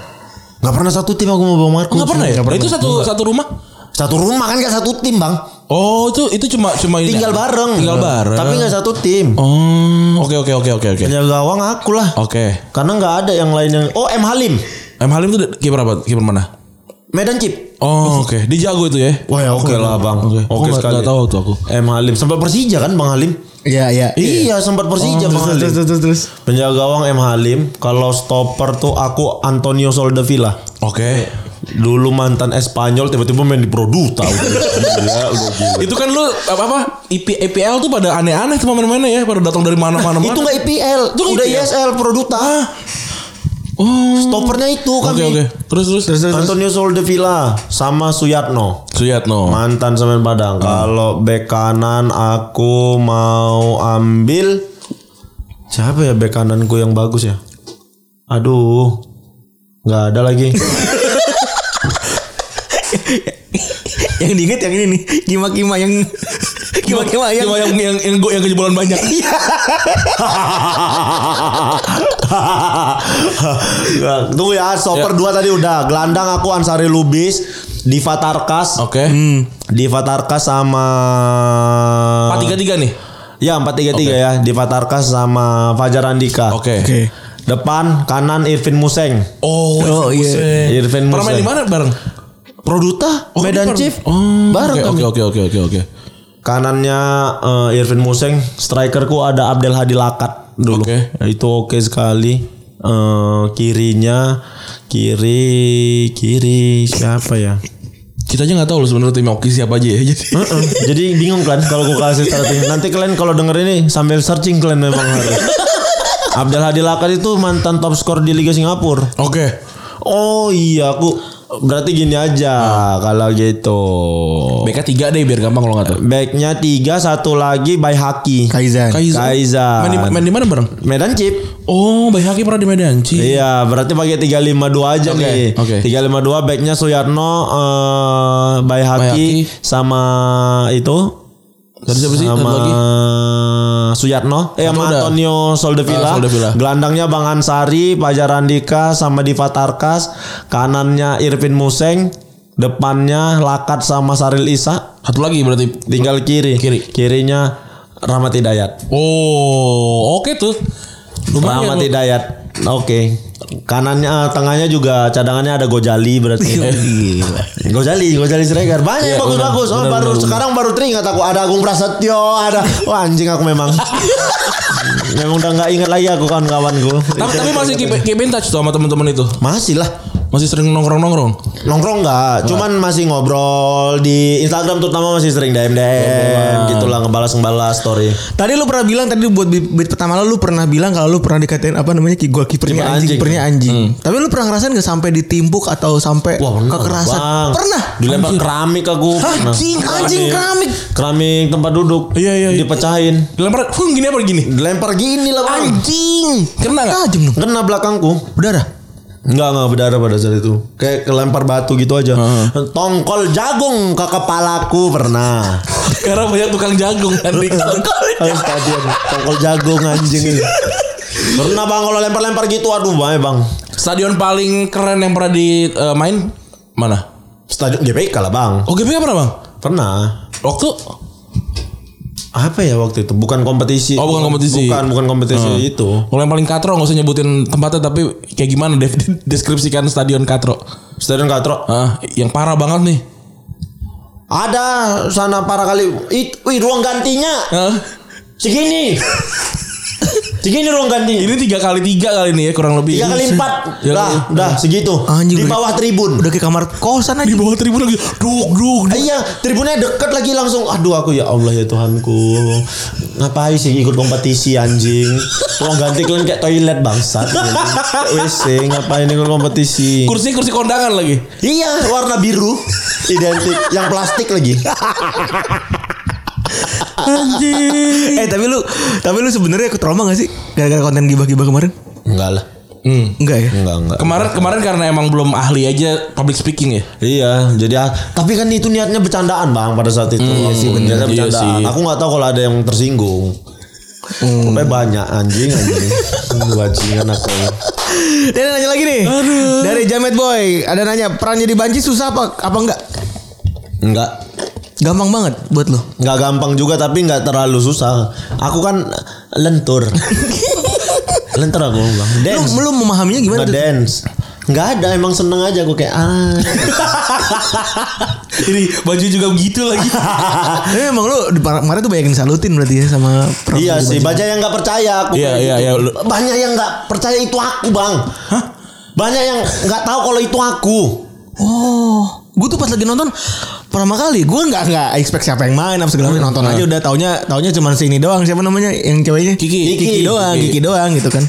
C: Gak pernah satu tim aku mau Bang Markus.
D: Enggak pernah ya?
B: nggak pernah.
D: Itu satu satu rumah.
C: Satu rumah kan gak satu tim bang.
D: Oh, itu itu cuma cuma ini.
C: Tinggal bareng.
D: Tinggal bareng.
C: Tapi gak satu tim.
D: Oh, oke oke oke oke oke.
C: Penjaga gawang aku lah.
D: Oke.
C: Karena gak ada yang lain yang. Oh M Halim.
D: M Halim tuh kiper apa? Kiper mana?
C: Medan Chip.
D: Oh, oke. Dia jago itu ya.
C: Wah ya oke lah bang.
D: Oke. Aku nggak- nggak tahu tuh aku.
C: M Halim sempat Persija kan bang Halim.
B: Iya, iya.
C: Iya sempat Persija
D: Oh,
C: bang Halim.
B: Oh, Terus terus terus. terus.
C: Penjaga gawang M Halim. Kalau stopper tuh aku Antonio Soldevila.
D: Oke.
C: Dulu mantan Espanyol tiba-tiba main di Produta. Udah gila, udah gila.
D: Itu kan lu apa apa IP, EPL tuh pada aneh-aneh tuh pemain-pemainnya ya, pada datang dari mana-mana.
C: Itu nggak IPL,
D: Itu nggak
C: udah
D: IPL.
C: ISL Produta.
D: Oh.
C: Stoppernya itu
D: Ah. Oke
C: kami.
D: oke. Terus terus terus. terus.
C: Antonio Soldevila sama Suyatno.
D: Suyatno.
C: Mantan semen Padang.
D: Hmm.
C: Kalau bek kanan aku mau ambil siapa ya bek kananku yang bagus ya? Aduh. nggak ada
D: (laughs)
C: lagi.
B: (laughs) yang diinget yang ini nih, kima-kima yang kima-kima yang Iya.
D: Cuma yang yang yang, yang kejebolan banyak.
C: Nggak, Tunggu ya, stopper dua tadi udah. Gelandang aku Ansari Lubis, Diva Tarkas.
D: Oke.
C: Hmm. Diva Tarkas sama
D: Empat tiga tiga nih.
C: Ya 433 ya Diva Tarkas sama Fajar Andika.
D: Oke.
B: Oke.
C: Depan kanan Irvin Museng.
D: Oh,
B: Oh, iya.
D: Museng.
C: Irvin
D: Pernah main
C: Museng.
D: di mana bareng?
C: Produta
D: Oh,
C: Medan
D: di-
C: Chief.
D: Oh,
C: Bareng
D: oke,
C: kami.
D: Oke oke oke oke oke.
C: Kanannya eh, Irvin Museng, strikerku ada Abdel Hadi Lakat dulu. Nah,
D: Oke.
C: Itu oke sekali. Eh, kirinya kiri kiri siapa ya?
D: Kita aja nggak tahu loh sebenarnya tim Oki siapa aja ya. (laughs) Jadi
C: Heeh, Jadi bingung kan kalau gue kasih starting. Nanti kalian kalau denger ini sambil searching kalian memang harus. Abdel Hadi Lakat itu mantan top skor di Liga Singapura.
D: Oke.
C: Oh iya aku berarti gini aja kalau gitu.
D: BK Oh. tiga deh biar gampang kalau nggak tahu.
C: Backnya tiga satu lagi by Haki.
B: Kaizan.
D: Kaiza.
C: Kaizan.
D: Main di, main di mana bareng?
C: Medan Chip.
D: Oh, Bayi Haki pernah di Medan. Ci.
C: Iya, berarti pakai 352 aja
D: Oke,
C: nih.
D: oke.
C: 352 backnya Suyarno eh by Haki
D: Haki.
C: sama itu
D: Tadi siapa sih? Satu
C: sama
D: lagi.
C: Suyatno eh sama
D: udah.
C: Antonio Soldevila.
D: Ah, Soldevila.
C: gelandangnya Bang Ansari Pajar Andika sama Diva Tarkas kanannya Irvin Museng depannya Lakat sama Saril Isa
D: Satu lagi berarti.
C: tinggal kiri,
D: Kiri.
C: kirinya Rahmat Hidayat
D: Oh, oke tuh. Lumayan.
C: Rahmat
D: loh.
C: Hidayat oke kanannya eh, tengahnya juga cadangannya ada Gojali berarti
D: Iya.
C: Gojali Gojali Siregar banyak yang bagus-bagus oh baru sekarang baru teringat aku ada Agung Prasetyo ada wah anjing aku
D: (laughs)
C: memang memang udah nggak ingat lagi aku kawan-kawanku
D: Tapi, tapi masih keep, keep in touch tuh sama teman-teman itu.
C: masih lah
D: Masih sering nongkrong-nongkrong.
C: nongkrong nggak cuman masih ngobrol di Instagram terutama masih sering DM DM gitulah ngebalas ngebalas story
B: Tadi lu pernah bilang tadi buat beat beat pertama lo, lu pernah bilang kalau lu pernah dikatain apa namanya ki- gol kipernya anjing,
C: Kiper anjing. ya? Hmm.
B: kipernya anjing. Tapi lu pernah ngerasain gak sampai ditimpuk atau sampai kekerasan?
C: Bang.
B: Pernah.
C: dilempar keramik Nah. aku
B: Hah,
C: pernah.
B: anjing, anjing keramik.
C: keramik tempat duduk
D: Iya, iya, iya.
C: dipecahin
D: Dilempar, "Fung, gini apa gini?
C: dilempar gini lah bang
B: Anjing.
D: Kena nggak?
B: Tajam dong.
C: kena Kan nah belakangku
B: Udah dah.
C: Enggak enggak berdarah pada saat itu. Kayak kelempar batu gitu aja. Tongkol jagung ke kepalaku pernah.
D: Karena banyak tukang jagung kan di
C: Kalau stadion tongkol jagung anjing. pernah Bang kalau lempar-lempar gitu aduh bang Bang.
D: Stadion paling keren yang pernah di eh, main mana?
C: Stadion GPK lah Bang.
D: OGP pernah bang?
C: Pernah.
D: Waktu
C: apa ya waktu itu? Bukan kompetisi.
D: Oh, bukan kompetisi.
C: Bukan bukan kompetisi
D: Hmm.
C: itu.
D: Kalau yang paling katro nggak usah nyebutin tempatnya tapi kayak gimana def- (laughs) deskripsikan stadion katro.
C: Stadion Katro.
D: Ah, yang parah banget nih.
C: Ada sana para kali itu wih, ruang gantinya
D: Ah, (laughs)
C: segini. segini ruang gantinya.
D: ini tiga kali tiga kali nih ya kurang lebih.
C: Tiga kali empat,
D: Ya,
C: dah, dah segitu.
B: Anjing,
C: di
B: udah-
C: bawah tribun.
B: Udah ke kamar kosan
D: Di
B: aja.
D: bawah tribun lagi. Duk duk.
C: Ah, Iya, tribunnya deket lagi langsung. Aduh aku ya Allah ya Tuhanku. Ngapain sih ikut kompetisi anjing? Ruang ganti kalian kayak toilet bangsat. WC ngapain ikut kompetisi?
D: Kursi kursi kondangan lagi.
C: Iya, warna biru identik yang plastik lagi.
B: (laughs) eh tapi lu tapi lu sebenarnya ikut trauma gak sih gara-gara konten gibah-gibah kemarin?
C: Enggak lah.
D: Hmm.
B: Enggak ya?
C: Enggak, enggak.
D: Kemarin kemarin karena emang belum ahli aja public speaking ya.
C: Iya, jadi ah, tapi kan itu niatnya bercandaan bang pada saat itu. Iya sih, niatnya
D: Iya
C: bercandaan.
D: sih. Hmm.
C: Aku nggak tahu kalau ada yang tersinggung. Tapi banyak anjing anjing.
D: (laughs)
C: Bajingan aku.
B: Dan nanya lagi nih. Dari Jamet Boy, ada nanya, peran jadi banci susah apa apa enggak?
C: Enggak,
B: Gampang banget buat lo.
C: nggak gampang juga tapi nggak terlalu susah. Aku kan
D: (laughs)
C: lentur. lentur aku bang.
B: Lu,
C: Dance.
B: lu memahaminya gimana? tuh?
C: Ngedance. Nggak ada emang seneng aja aku kayak ah.
D: (laughs) Ini baju juga begitu lagi.
C: (laughs)
B: Eh, emang lu di- kemarin tuh banyakin salutin berarti ya sama peran
C: Iya
B: jadi
C: sih,
B: banci.
C: banyak yang nggak percaya aku.
D: Iya,
C: kayak
D: iya,
C: gitu.
D: iya, lu-
C: Banyak yang nggak percaya itu aku, Bang. Hah? Banyak yang nggak tahu kalau itu aku.
B: Oh, gue tuh pas lagi nonton pertama kali, gue nggak nggak expect siapa yang main apa segala macam nonton aja udah taunya taunya cuman sini doang siapa namanya yang ceweknya
D: Kiki.
B: Kiki doang Kiki, doang gitu kan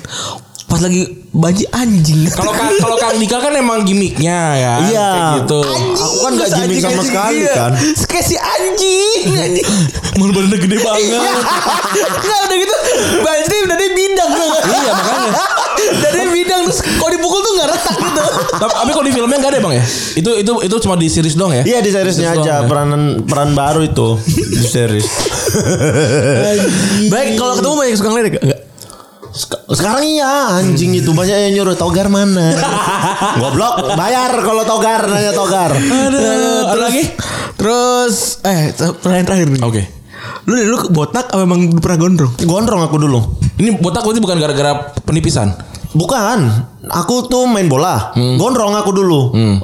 B: pas lagi banci anjing
D: Kalau Kang- kalau Kang Dika kan emang gimmicknya ya.
C: Iya.
D: Kayak gitu.
C: Aku kan nggak
B: Terus
C: gimmick
B: anjing
C: sama
B: anjing
C: sekali,
B: iya.
C: kan.
B: Kayak si anjing anjing
D: Malu badannya gede banget.
B: Nggak udah gitu Banci udah dia bidang Iya makanya Dari bidang terus kalau dipukul tuh nggak retak gitu
D: tapi, tapi kalau di filmnya nggak ada bang ya? Itu itu itu cuma di series dong ya?
C: Iya di seriesnya
D: Terus
C: aja
D: doang ya?
C: peranan peran baru itu di series.
B: Baik kalau ketemu banyak suka ngelirik Enggak
C: Sek- Sekarang iya anjing itu banyak yang nyuruh togar mana. (laughs) Goblok, bayar kalau togar nanya togar.
D: Aduh, ada lagi?
B: Terus Eh pertanyaan terakhir nih
D: Oke.
B: Lu dari dulu botak apa emang lu pernah gondrong?
C: Gondrong aku dulu.
D: Ini botak berarti bukan gara-gara penipisan.
C: Bukan, aku tuh main bola,
D: Hmm.
C: gondrong aku dulu. Eh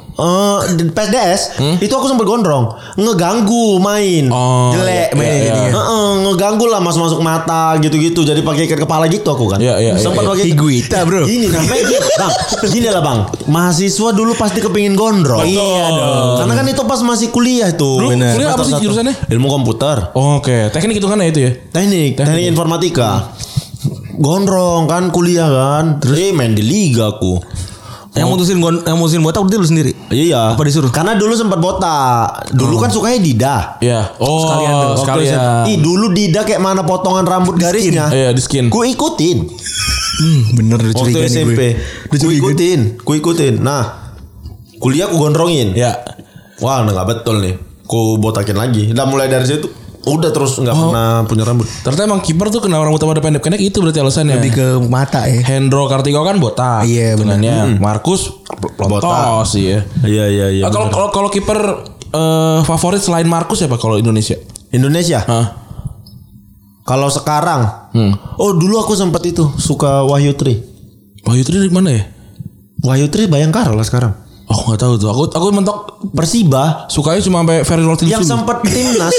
C: di PSDS itu aku sempat gondrong, ngeganggu main,
D: Oh,
C: jelek
D: iya,
C: main.
D: iya, iya.
C: Heeh, ngeganggu lah masuk masuk mata gitu-gitu. Jadi pakai ikat kepala gitu aku kan.
D: Iya, iya, iya,
C: sempat
D: iya.
C: pakai
B: Higuita, bro.
C: Gini namanya
D: (laughs)
C: gini, bang. Gini lah bang, mahasiswa dulu pasti kepingin gondrong. Iya
D: Oh.
C: dong. Karena kan itu pas masih kuliah tuh.
D: Dulu
C: Bener.
D: kuliah apa sih
C: Satu-satu.
D: jurusannya?
C: Ilmu komputer.
D: Oke, teknik hitungannya itu ya.
C: Teknik, teknik, informatika. Gondrong kan kuliah kan. Terus eh, main di liga aku.
B: Yang
D: Oh.
B: mutusin gon- yang mutusin botak berarti lu sendiri.
C: Iya.
B: Apa disuruh?
C: Karena dulu sempat botak. Dulu kan sukanya Dida.
D: Iya. Oh, sekalian.
C: tuh, waktu SMP. Ih, dulu Dida kayak mana potongan rambut garisnya.
D: Iya, di skin.
C: Ku ikutin.
B: Hmm, bener udah
C: Waktu
B: nih
C: SMP.
B: Udah
C: Ku
B: curiga.
C: ikutin, ku ikutin. Nah, kuliah ku gondrongin.
D: Iya.
C: Wah, nah, nggak betul nih. Ku botakin lagi. Nah, mulai dari situ udah terus nggak pernah punya rambut.
D: Ternyata emang kiper tuh kena orang utama pendek-pendek itu berarti alasannya.
B: Lebih ke mata ya.
D: Hendro Kartiko kan ya. botak.
B: Iya, benar.
D: hitungannya. Markus botak sih ya.
C: Iya, iya, iya.
D: Ah, Kalau
C: bener.
D: kalau kalau kiper eh, favorit selain Markus siapa kalau Indonesia?
C: Indonesia.
D: Hah?
C: Kalau sekarang, oh dulu aku sempat itu suka Wahyu Tri.
D: Wahyu Tri dari mana ya?
C: Wahyu Tri Bayangkara lah sekarang.
D: Aku nggak tahu tuh. Aku aku mentok
C: Persiba
D: sukanya cuma sampai Ferry Lortil
C: yang sempat timnas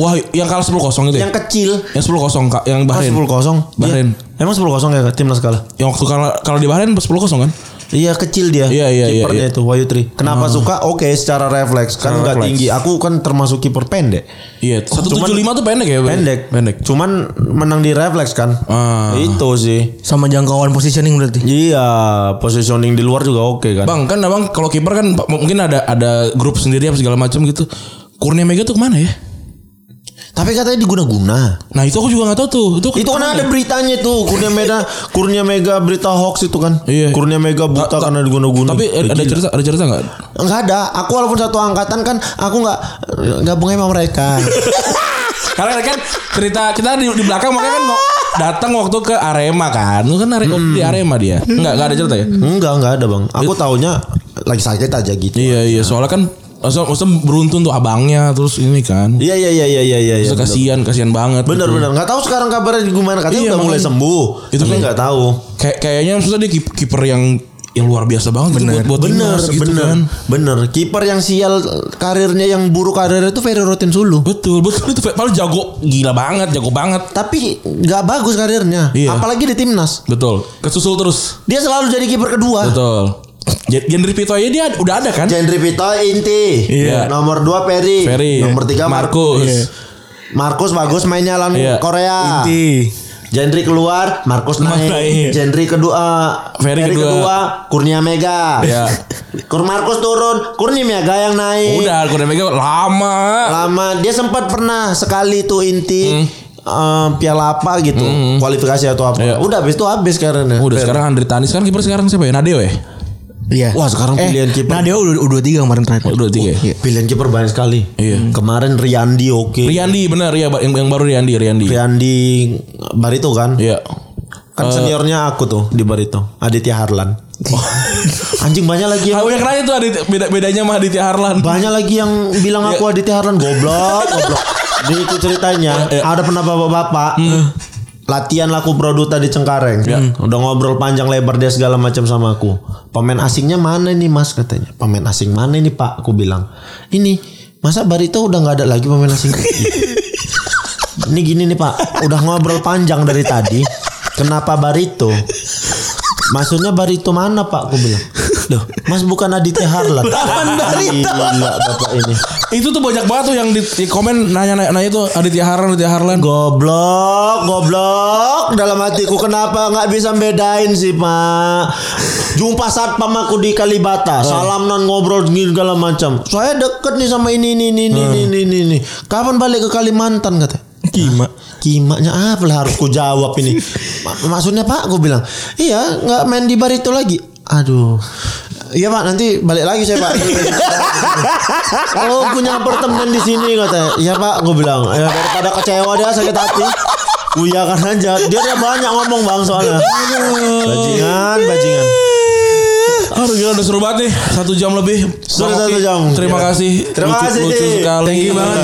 D: Wah, yang kalah 10-0 itu ya?
C: yang kecil
D: Yang 10-0 Kak, yang
C: Kan
D: Bahrain.
C: sepuluh kosong
D: Bahrain.
C: Emang sepuluh kosong ya timnas kalah.
D: Yang waktu kalah kalau di Bahrain 10-0 kan?
C: Iya kecil dia.
D: Iya, iya, iya,
C: Kipernya itu Wahyu Tri. Kenapa suka? Oke secara refleks kan nggak
D: refleks.
C: tinggi. Aku kan termasuk kiper pendek.
D: Iya, 175
C: cuman-
D: tuh pendek ya? Bang?
C: iya. Pendek.
D: Pendek.
C: Cuman menang di refleks kan.
D: Ah.
C: Itu sih.
B: Sama jangkauan positioning berarti.
C: Iya positioning di luar juga oke kan.
D: Bang, kan abang kalau kiper kan m- mungkin ada ada grup sendiri apa segala macam gitu. Kurnia Mega tuh kemana ya?
C: Tapi katanya diguna-guna.
D: Nah itu aku juga gak tahu tuh. Itu,
C: Itu kan ada beritanya tuh Kurnia (laughs) Mega Kurnia Mega berita hoax itu kan.
D: Iya.
C: Kurnia Mega buta
D: Ta- ta-
C: karena diguna-guna.
D: Tapi
C: Eh,
D: ada
C: gila.
D: cerita ada cerita nggak?
C: Enggak ada. Aku walaupun satu angkatan kan aku enggak gabungnya sama mereka. (laughs)
D: Karena kan cerita kita di, di belakang makanya
C: Ah!
D: kan mau datang waktu ke Arema kan. Lu kan are, di Arema dia. Enggak, enggak ada cerita ya?
C: enggak, enggak ada, Bang. Aku taunya lagi sakit aja gitu.
D: Iya, iya, soalnya kan Maksudnya, maksudnya beruntun tuh abangnya terus ini kan.
C: Iya iya iya iya iya iya.
D: Terus
C: iya, bener.
D: kasihan, kasihan banget.
C: Bener bener nggak tahu sekarang kabarnya gimana katanya
D: gitu. Iya,
C: udah mulai
D: makanya.
C: sembuh.
D: Itu
C: Itu tapi
D: kan-
C: nggak tahu.
D: Kayak kayaknya maksudnya dia kip- kiper yang yang luar biasa banget gitu
B: Bener.
D: buat buat
C: Bener
D: timnas gitu
C: bener
D: kan.
C: bener. Kiper yang sial karirnya yang buruk karirnya itu Ferry Rotin Sulu.
D: Betul, betul itu paling jago gila banget, jago banget.
C: Tapi nggak bagus karirnya.
D: Iya.
C: Apalagi di timnas.
D: Betul. Kesusul terus.
C: Dia selalu jadi kiper kedua.
D: Betul. Gen- Genre Pito aja dia udah ada kan?
C: Jendri Pito inti.
D: Iya.
C: Nomor dua Ferry.
D: Ferry.
C: Nomor tiga
D: Markus.
C: Markus. Markus bagus mainnya lawan
D: Iya.
C: Korea.
B: Inti.
C: Jendri keluar, Markus
D: Markus naik.
C: naik. Jendri kedua,
D: Ferry
C: Ferry,
D: kedua.
C: kedua. Kurnia Mega.
D: Iya.
C: (laughs) Kur Markus turun, Kurnia Mega yang naik.
D: Udah, aku udah megang lama.
C: Lama dia sempat pernah sekali tuh
D: Hmm.
C: inti eh, piala apa gitu, kualifikasi atau apa.
D: Iya.
C: Udah habis itu habis ya. karena.
D: Hmm, Udah sekarang Andre Tanis kan kiper sekarang siapa ya? Nadeo ya?
B: Iya.
C: Wah, sekarang pilihan kiper.
B: Nah, dia udah udah tiga kemarin terakhir.
D: Udah tiga. ya?
B: Iya.
C: pilihan kiper banyak sekali. Hmm.
D: Iya.
C: Kemarin Riyandi oke.
D: Riyandi benar ya yang, yang baru Riyandi, Riyandi.
C: Riyandi Barito kan?
D: Iya.
C: Kan seniornya aku tuh di Barito, Aditya Harlan.
D: Oh.
C: Anjing banyak lagi
D: (laughs)
C: yang
D: Aku yang keren itu Aditya- beda bedanya sama Aditya Harlan.
C: banyak lagi yang bilang aku Aditya Harlan goblok, goblok. Jadi itu ceritanya ada pernah bapak-bapak latihan laku produta di Cengkareng. Udah ngobrol panjang lebar dia segala macam sama aku. Pemain asingnya mana nih Mas katanya. Pemain asing mana nih Pak? Aku bilang. Ini masa Barito udah nggak ada lagi pemain asing. Ini gini nih Pak, udah ngobrol panjang dari tadi. Kenapa Barito? Maksudnya Barito mana Pak? Aku bilang. Loh, Mas bukan Aditya Harlan. Barito? Gila Bapak ini.
D: Itu tuh banyak banget tuh yang di, di komen nanya-nanya nanya tuh Aditya Harlan, Aditya Harlan.
C: Goblok, goblok. Dalam hatiku kenapa nggak bisa bedain sih Pak? Jumpa satpam aku di Kalibata. Salam non ngobrol gini segala macam. Saya deket nih sama ini ini ini ini ini ini, ini. Kapan balik ke Kalimantan katanya?
B: Kima.
C: Kimanya apa lah harus ku jawab ini. Ma- Maksudnya Pak, gue bilang, iya nggak main di bar itu lagi. Aduh, iya Pak nanti balik lagi saya Pak. oh punya apartemen di sini katanya. Iya Pak, gue bilang. Ya, daripada kecewa dia sakit hati. Uyakan aja. Dia udah banyak ngomong bang soalnya. Bajingan, bajingan.
D: Aduh gila udah seru banget nih Satu jam lebih
C: Sudah
D: Bang
C: satu
D: Oki,
C: jam.
D: Terima
C: Gila.
D: kasih
C: Terima
D: Lucu-
C: kasih,
D: Lucu
C: Di.
D: sekali
B: Thank you banget.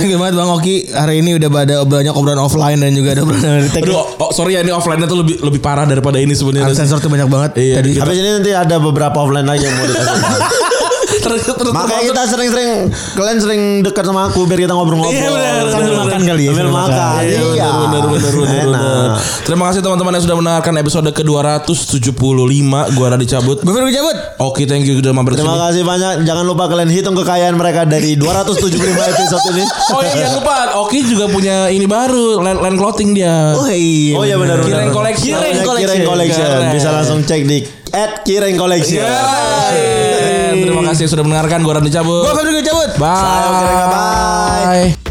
B: Thank you banget Bang Oki. Hari ini udah ada banyak obrolan offline dan juga ada obrolan dari
D: Aduh
B: teknik.
D: oh, sorry ya ini offline-nya tuh lebih lebih parah daripada ini sebenarnya.
B: Sensor tuh banyak banget.
D: Iya.
B: Tadi
C: Habis ini nanti ada beberapa offline lagi yang mau dikasih.
D: Ter- ter- ter-
C: Makanya kita sering-sering kalian sering dekat sama aku biar kita ngobrol-ngobrol.
D: Iya, benar,
C: Sambil
D: benar,
C: makan
D: benar.
C: kali ya. Sambil makan.
D: Iya,
C: Iya.
D: benar, benar, benar, benar, benar.
C: Enak.
D: Terima kasih teman-teman yang sudah mendengarkan episode ke-275 Gua Radi Cabut
B: Gue Ferry cabut.
D: Oke thank you udah mampir
C: Terima
D: kesini
C: kasih banyak. Jangan lupa kalian hitung kekayaan mereka dari 275 episode ini.
D: Oh iya jangan lupa Oki juga punya ini baru Land, land clothing dia
B: Oh iya.
C: Oh iya benar. benar.
D: Kireng Collection.
C: Namanya
D: Kireng
C: Kireng Collection.
D: Collection.
C: Bisa langsung cek di at Kireng Collection.
D: Iya. Keren. Terima kasih sudah mendengarkan Gua Radi Cabut
B: Gue Ferry cabut.
D: Bye
C: Bye.
D: Bye